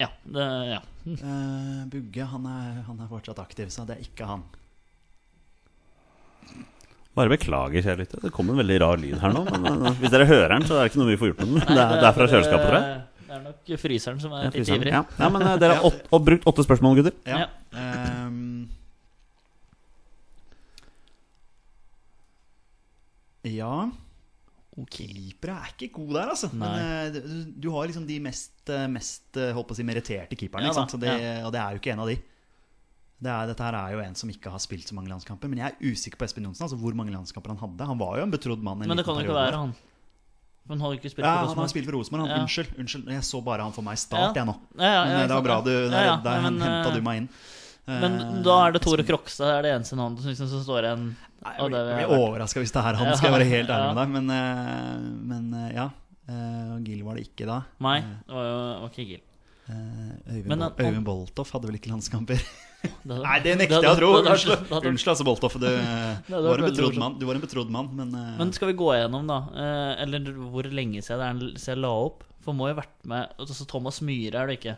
Ja. Det, ja.
Eh, Bugge han er, han er fortsatt aktiv, så det er ikke han.
Bare beklager, kjære lytter. Det kom en veldig rar lyd her nå. Men eh, hvis dere hører den, så er det ikke noe vi får gjort med den. Det er, det er fra kjøleskapet, tror jeg.
Det er nok fryseren som
Ja,
er litt
fryseren.
ivrig.
Ja. ja, men eh, dere har åt, og brukt åtte spørsmål, gutter.
Ja.
Ehm. ja Keepere er ikke gode der, altså. Men,
Nei.
eh, du, du har liksom de mest, eh, mest eh, holdt på å si, meritterte keeperne,
Ja
ikke sant?
da,
Så det, og det er jo ikke en av de. Det er, dette her er jo en som ikke har spilt så mange landskamper. Men jeg er usikker på Espen Johnsen. Altså hvor mange landskamper Han hadde Han var jo en betrodd mann. en
Men det
liten
kan jo ikke
periode.
være han. For han har jo ikke
Ja,
spilt for
han har
Rosenborg.
spilt for Rosenborg. han.
Ja.
Unnskyld, unnskyld. Jeg så bare han for meg i start, jeg
Ja.
nå.
Ja, ja,
Men
ja,
eh, det var
sant,
bra
ja.
du Der,
Ja, ja,
der
men,
henta
eh,
du meg eh, inn.
Men da er det Tore Krokstad er det eneste navnet som, liksom, som står igjen.
Jeg
av det
blir,
vi
Eh, jeg
har
blir
vært.
overraska hvis det er han,
Ja,
skal jeg være helt ærlig
ja.
med deg. Men, eh, men eh, ja. Eh, Og Gil var det ikke da.
Nei, det var jo var ikke Gil.
Eh, Øyvind,
Men
Bol
han-
Øyvind Boltoff hadde vel ikke landskamper?
Det hadde-
Nei, det nekter jeg å
hadde-
tro!
det hadde-
Unnskyld,
det hadde-
Unnskyld, altså, Boltoff. Du,
hadde
var en
vært veldig
betrodd
morsomt.
mann, du var en betrodd mann, men, eh,
Men skal vi gå gjennom, da? eh, Eller hvor lenge siden det er siden jeg la opp? For må jo ha vært med Altså Thomas Myhre er det ikke.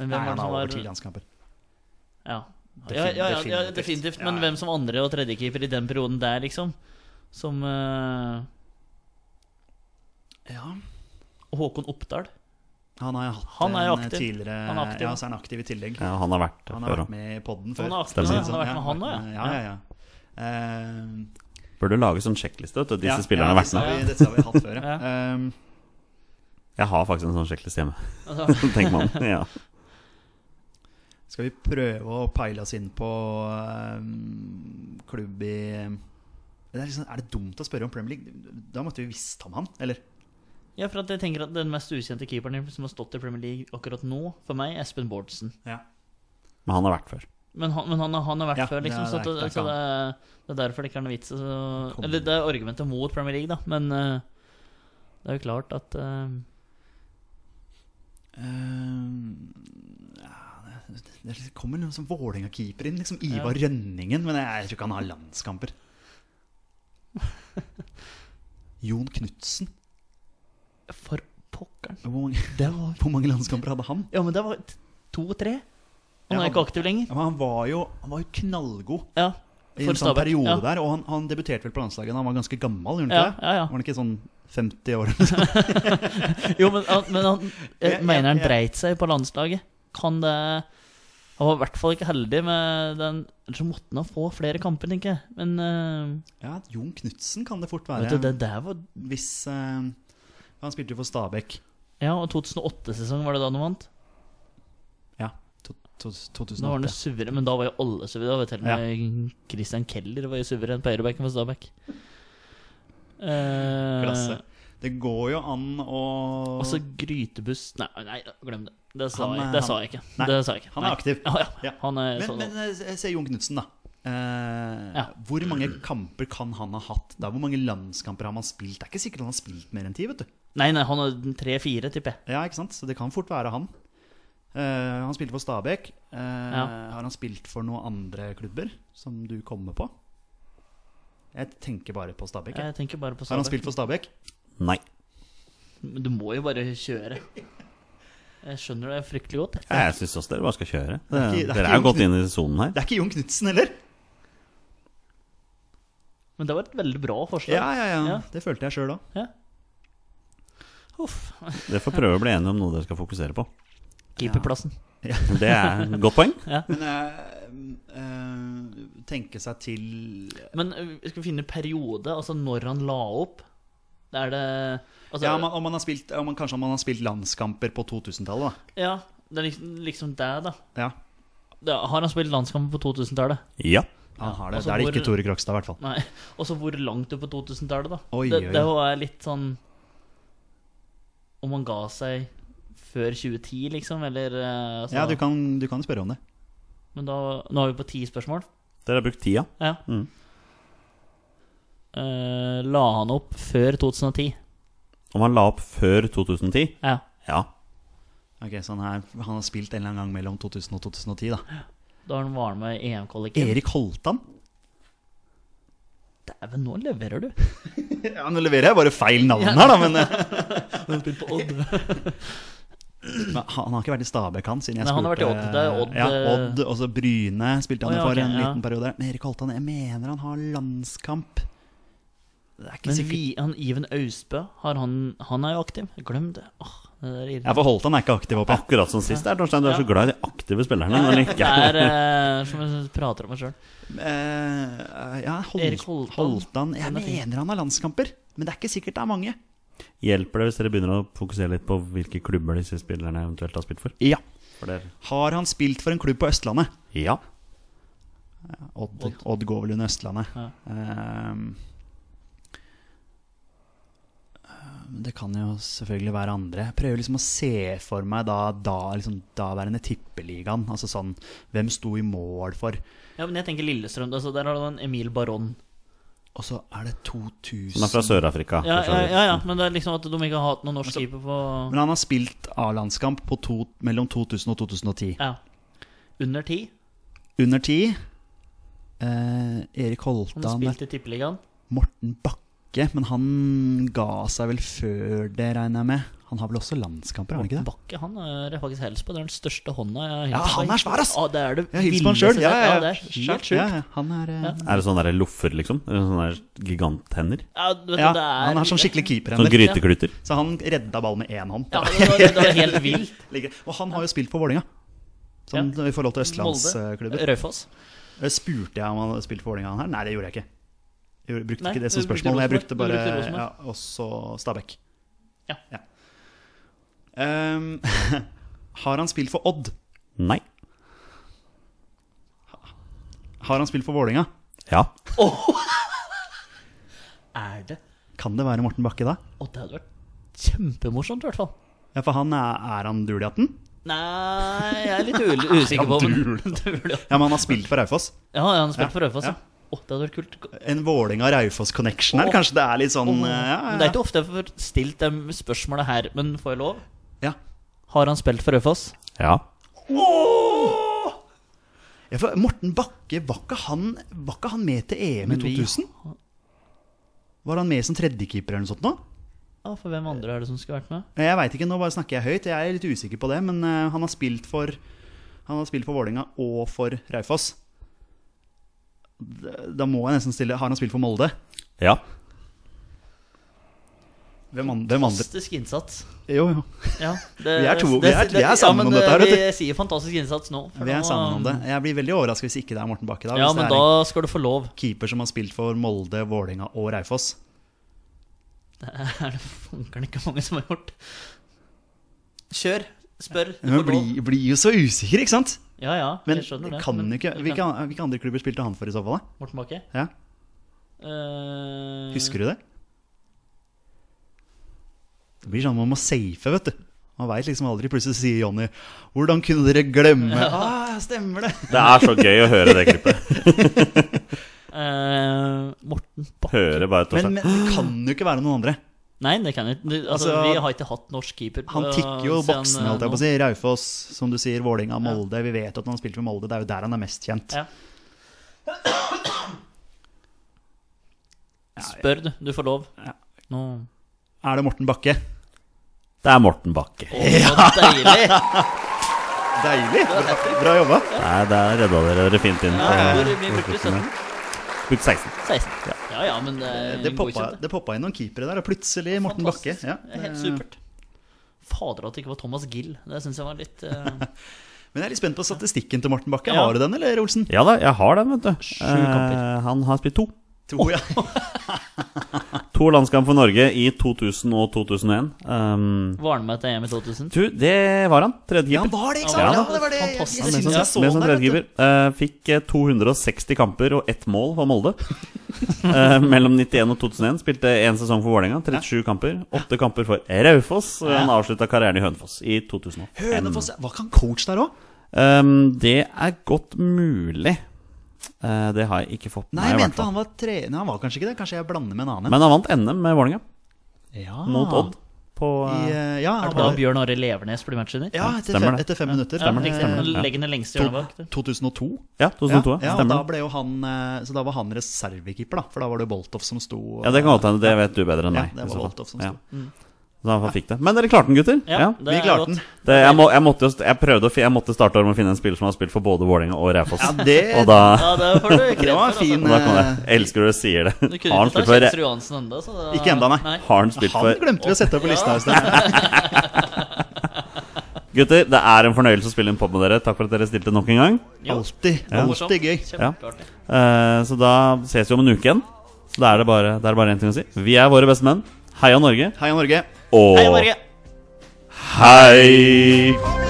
Men
nei,
hvem var
han
det som
har
var
over ti landskamper.
ja. Ja, ja, ja, ja,
definitivt.
definitivt.
Ja,
Men
ja.
hvem som andre- og tredjekeeper i den perioden der, liksom? Som eh,
Ja.
Håkon Oppdal.
Han har jo hatt
Han er jo
en
aktiv.
tidligere
Han er aktiv.
Ja, så er han aktiv i tillegg.
Ja, han har vært der
Han har
før.
vært
da.
med i podden før.
Han har vært
med-
Stemmer.
han har vært med han også,
ja.
ja.
Ja, ja, ja. Eh,
Burde lage sånn sjekkliste, vet du. Disse
ja,
spillerne
ja,
har vært
disse
med.
har vi- Disse har vi hatt før, ja.
Ja.
Eh,
Jeg har faktisk en sånn sjekkliste hjemme.
Altså,
Tenk man. Ja.
Skal vi prøve å peile oss inn på eh, klubb i det er, liksom, er det dumt å spørre om Premier League? Da måtte vi visst om han, eller?
ja, for at jeg tenker at Den mest ukjente keeperen som har stått i Premier League akkurat nå, for meg, Espen Bårdsen.
Ja.
Men han har vært før.
Men han, men han, han har vært
Ja,
før, liksom.
det er-
så at,
det er ikke
så det, er, det er derfor det ikke er noe vits. å- så-
Kommer.
eller det er argumentet mot Premier League, da. Men eh, det er jo klart at eh,
Ehm, det, det kommer noen som Vålerenga-keeper inn, liksom Ivar Rønningen. Men jeg tror ikke han har landskamper. Jon Knutsen.
For pokkeren.
Hvor, mange- hvor mange landskamper hadde han?
Ja, men det var to-tre. Han
Ja,
er
han-
ikke aktiv lenger.
Ja, men han var jo, han var jo knallgod
Ja.
i
For
en sånn
Stabæk,
periode
ja.
der. Og han, han debuterte vel på landslaget da han var ganske gammel, gjorde han
Ja,
ikke det?
ja, ja.
Var han ikke sånn 50 år?
Jo, men, han- men han
Ja,
jeg mener han
ja, ja.
dreit seg på landslaget. Kan det Han var i hvert fall ikke heldig med den Ellers så måtte han ha få flere kamper, tenker jeg. Men eh,
Ja, Jon Knutsen kan det fort
vet
være.
du, det der var
Hvis eh, Han spilte jo for Stabæk.
Ja, og 2008-sesong var det da han vant?
Ja, to, to,
Da var han jo
2008.
suveren, men da var jo alle suveren. Da var jo til og med Christian Keller var jo suveren på høyrebacken for Stabæk. Eh,
Klasse. Det går jo an å
Altså grytebuss Nei, nei glem det. Det sa,
Mm. Han er-
jeg, det sa jeg ikke.
Nei,
det sa jeg ikke.
han er
Nei.
aktiv.
Ja, ja.
Ja.
Han er
Men,
sånn
men eh, se Jon Knutsen, da. Eh,
Ja.
Hvor mange kamper kan han ha hatt? Da? Hvor mange landskamper har man spilt? Det er ikke sikkert han har spilt mer enn ti. vet du
Nei, nei, han er tre-fire, tipper jeg.
Ja, ikke sant? Så det kan fort være han. Eh, han spilte for Stabæk. Eh, Har han spilt for noen andre klubber som du kommer på? Jeg tenker bare på Stabæk. jeg.
Jeg tenker bare på
Har han
Stabæk.
spilt for Stabæk?
Nei.
Men Du må jo bare kjøre. Jeg skjønner det fryktelig godt. jeg.
Ja, Jeg syns også dere bare skal kjøre.
er ikke- det er
dere
ikke
er jo
Jon
gått inn i sonen her.
Det er ikke Jon Knutsen heller!
Men det var et veldig bra forslag.
Ja, ja, ja,
Ja.
Det følte jeg sjøl òg.
Uff.
Dere får prøve å bli enige om noe dere skal fokusere på.
Keeperplassen.
Det er et godt poeng.
Men eh, eh, tenke seg til
Men eh, vi skal finne periode, altså når han la opp. Det er det altså,
Ja, om man, om man har spilt, om man, kanskje om man har spilt landskamper på 2000-tallet,
ja, det er liksom, liksom det, da.
da. Ja,
Det, har han spilt landskamp på 2000-tallet?
Ja.
han har det.
altså
Da er det ikke
hvor-
Tore Krokstad, i hvert fall.
Nei. Og så hvor langt ut på 2000-tallet, da.
Oi,
det,
oi,
det
oi.
var litt sånn Om han ga seg før 2010, liksom, eller eh, altså,
Ja, du kan, du kan spørre om det.
Men da, nå er vi på ti spørsmål.
Dere har brukt tida.
Ja.
Mm.
Eh, la han opp før 2010?
Om han la opp før 2010?
Ja.
Ja.
Ok, så han, er, han har spilt en eller annen gang mellom 2000 og 2010, da.
Da han var med i EM-kvaliken.
Erik Holtan?
Dæven, nå leverer du!
Ja, Nå leverer jeg bare feil navn her, da, men eh,
Han spilte på Odd.
men Han har ikke vært i Stabæk, han, siden jeg
Nei, han har vært i
spurte-
Odd. Det er Odd,
Ja,
eh,
Odd, og så Bryne spilte han
Å,
jo
ja,
for
ok,
en
ja.
liten periode. Men Erik Holtan, jeg mener han har landskamp. Det er ikke
Men
sikkert.
vi, han Iven Austbø, har han, han er jo aktiv. Glem det. Åh, det der irriterer.
Ja, for Holtan er ikke aktiv oppe.
Akkurat som sist der, Torstein. Du er så glad i de aktive spillerne. Men
Det
ikke.
er eh, som jeg prater om meg sjøl.
Eh, ja, Hol
Erik Holtan.
Holtan. Jeg
Den er fin.
mener han har landskamper, men det er ikke sikkert det er mange.
Hjelper det hvis dere begynner å fokusere litt på hvilke klubber disse spillerne eventuelt har spilt for?
Ja.
For dere?
Har han spilt for en klubb på Østlandet?
Ja.
Odd, Odd. går vel under Østlandet.
Ja.
Ehm, ehm, det kan jo selvfølgelig være andre. Jeg prøver liksom å se for meg da, da liksom, daværende Tippeligaen. Altså sånn Hvem sto i mål for?
Ja, men jeg tenker Lillestrøm. Altså, der har du en Emil Baron.
Og så er det 2000
Som er fra Sør-Afrika.
Ja,
for så
ja,
vidt.
ja, ja, men det er liksom at de ikke har hatt noen norsk keeper på
Men han har spilt A-landskamp på to, mellom 2000 og 2010.
Ja. Under ti.
Under 10 eh, Erik
Han har
Holtan
spilt i Tippeligaen.
Morten Bakke, men han ga seg vel før det, regner jeg med. Han har vel også landskamper, har han ikke det?
Bakke han er jeg faktisk helst på. Det er den største hånda jeg har
Ja,
hilst på.
han er svær, ass!
Ja, det er det
Ja, hils på han sjøl.
villeste
Ja,
jeg har
ja,
sett. det
ja.
er helt
Ja,
sjukt.
ja. Han er eh,
Ja.
Er det sånne der loffer, liksom? Er det Sånne der giganthender?
Ja, du vet,
ja,
det er,
han er sånn skikkelig
Sånne
keeperhender.
grytekluter?
Så han redda ball med én hånd.
Ja, det var, det var helt vilt.
Ligger- Og han har jo spilt for Vålinga. Sånn i forhold til eh, østlandsklubber.
Raufoss.
Eh, Spurte jeg om han hadde spilt for Vålinga han her? Nei, det gjorde jeg ikke. Jeg gjorde- brukte
Nei,
ikke det som
du brukte
spørsmål. men Jeg brukte
Rosenborg.
bare
Du brukte
ja,
Rosenborg.
også Stabæk.
Ja.
Ehm, har han spilt for Odd?
Nei.
Har han spilt for Vålinga?
Ja.
Er det?
Kan det være Morten Bakke da?
Å, det hadde vært kjempemorsomt, i hvert fall.
Ja, for han er, er han Duliaten?
Nei, jeg er litt u- usikker på men- Dul, ja.
Ja, men han har spilt for Raufoss.
Ja, han har
Ja,
spilt for Raufoss, ja.
ja.
Å, det hadde vært kult.
En Vålinga-Raufoss-connection her,
Åh.
kanskje det er litt sånn eh, ja,
Men det er
ja,
ikke ofte jeg får stilt dem spørsmålet her, men får jeg lov?
ja.
Har han spilt for Raufoss?
Ja.
ja, for Morten Bakke, var ikke han, var ikke han med til EM i
Men vi-
2000? Var han med som tredjekeeper eller noe sånt nå?
Ja, for hvem andre er det som skulle vært med?
Jeg veit ikke, nå bare snakker jeg høyt. Jeg er litt usikker på det, men eh, han har spilt for Han har spilt for Vålinga og for Raufoss. Da da må jeg nesten stille Har han spilt for Molde?
Ja.
Hvem, an, hvem andre?
Fantastisk innsats.
Jo, jo.
Ja, det,
Vi er to- vi er- vi er sammen
men eh,
om dette her, vet du.
Vi sier fantastisk innsats nå. for
Vi er
nå,
sammen om det.
um,
Jeg blir veldig overraska hvis ikke det er Morten Bakke. Da,
Ja,
hvis
men
det er
da skal du få lov.
en keeper som har spilt for Molde, Vålinga og Raufoss.
Er det funkeren ikke mange som har gjort? Kjør. Spør. Du
Men
får lov.
blir, blir jo så usikker, ikke sant?
Ja, ja,
Men
jeg skjønner det.
kan
men
jo ikke,
du
hvilke, an- hvilke andre klubber spilte han for i så fall? da?
Morten Bakke?
Ja.
Eh,
Husker du det? Det blir sånn man må safe, vet du. Man veit liksom aldri. Plutselig sier Jonny 'Hvordan kunne dere glemme?' Ah, stemmer det!
Det er så gøy å høre det klippet.
eh, Morten Bakke
Høre bare
Men,
Torstein.
men det kan jo ikke være noen andre.
Nei, det kan jeg ikke. Du, Altså,
Altså,
vi har ikke hatt norsk keeper.
Han tikker jo boksene, holdt jeg
eh,
på å si. Raufoss, som du sier, Vålinga, Molde. Vi vet at han har spilt for Molde. Det er jo der han er mest kjent.
Ja. Spør, du. Du får lov.
Ja.
Nå.
Er det Morten Bakke?
Det er Morten Bakke.
Å, så deilig!
Deilig! Bra, bra jobba.
Nei, der redda dere dere fint inn.
Ja, hvor mye
på-
brukte du? 17?
Brukt 16.
16. Ja ja, men det,
Det poppa,
godkjent,
det poppa inn noen keepere der, og plutselig Morten Bakke.
Fantastisk.
Ja,
Det er Helt
det-
supert. Fader at det ikke var Thomas Gill. Det syns jeg var litt eh,
Men jeg er litt spent på statistikken til Morten Bakke.
Ja.
Har du den, eller, Olsen?
Ja da, jeg har den, vet du.
kamper.
Eh, han har spilt to.
To, ja.
To landskamp for Norge i 2000 og 2001. Um,
Var han med til EM i 2000?
du, det var han.
Ja,
Tredjekeeper.
han var det, ikke
Ja,
sant?
han
Ja,
var
det var det. Jeg, jeg,
fantastisk.
Ja, med
synes
som,
jeg så
med
han
som
der, vet du.
tredjekeeper. Eh, fikk eh, 260 kamper og ett mål for Molde. Eh, mellom 91 og 2001. Spilte én sesong for Vålerenga. 37 kamper. Åtte kamper for Raufoss. Og han avslutta karrieren i Hønefoss i 2005.
Hønefoss, ja. Var ikke han coach der òg?
Ehm, det er godt mulig. Eh, det har jeg ikke fått med
Nei,
meg.
jeg
i hvert
mente
fall.
han var tre... Nei, han var kanskje ikke det. Kanskje jeg blander med en annen.
Men han vant NM med Vålerenga,
ja.
mot Odd. På,
Ah. I,
eh,
eh, ja,
Er
han
det da
var,
Bjørn Are Levernes blir matchvinner?
ja etter,
Stemmer
fem,
det.
etter fem minutter.
Ja,
Eh,
riktig.
stemmer det, ja.
Legg den lengste hjørnet bak. det.
2002. ja,
ja, 2002. Ja,
og da
stemmer det.
ble jo han eh, Så da var han reservekeeper, da. For da var det Boltoff som sto
Ja, det kan godt hende. Det vet du bedre enn
Ja,
meg.
det
i
var
så fall.
Boltoff som
Ja.
sto. Mm.
Så han fikk det. Men dere klarte den, gutter.
Ja, det
Vi
er
klarte
godt.
den.
Det, jeg, må, jeg, måtte jo, st- jeg prøvde å fi- Jeg måtte starte året med å finne en spiller som har spilt for både Vålerenga og Raufoss.
det-
og da,
Ja, det får du
Det
kred
var
for, altså.
fin,
og da kom det. Jeg elsker når du sier det.
Du
Har
kunne ikke
han spilt
ta
for
Kjelsrud Johansen ennå.
Ikke enda, nei.
Har han spilt
Han
for
glemte vi å sette på lista i sted.
Gutter, det er en fornøyelse å spille inn pod med dere. Takk for at dere stilte nok en gang.
Alltid.
Ja.
Alltid gøy.
Kjempeartig.
Eh, så da ses vi om en uke igjen. Så da er det bare da er det bare én ting å si. Vi er våre beste menn. Heia Norge.
Heia Norge.
Og
Hei, Norge!
hei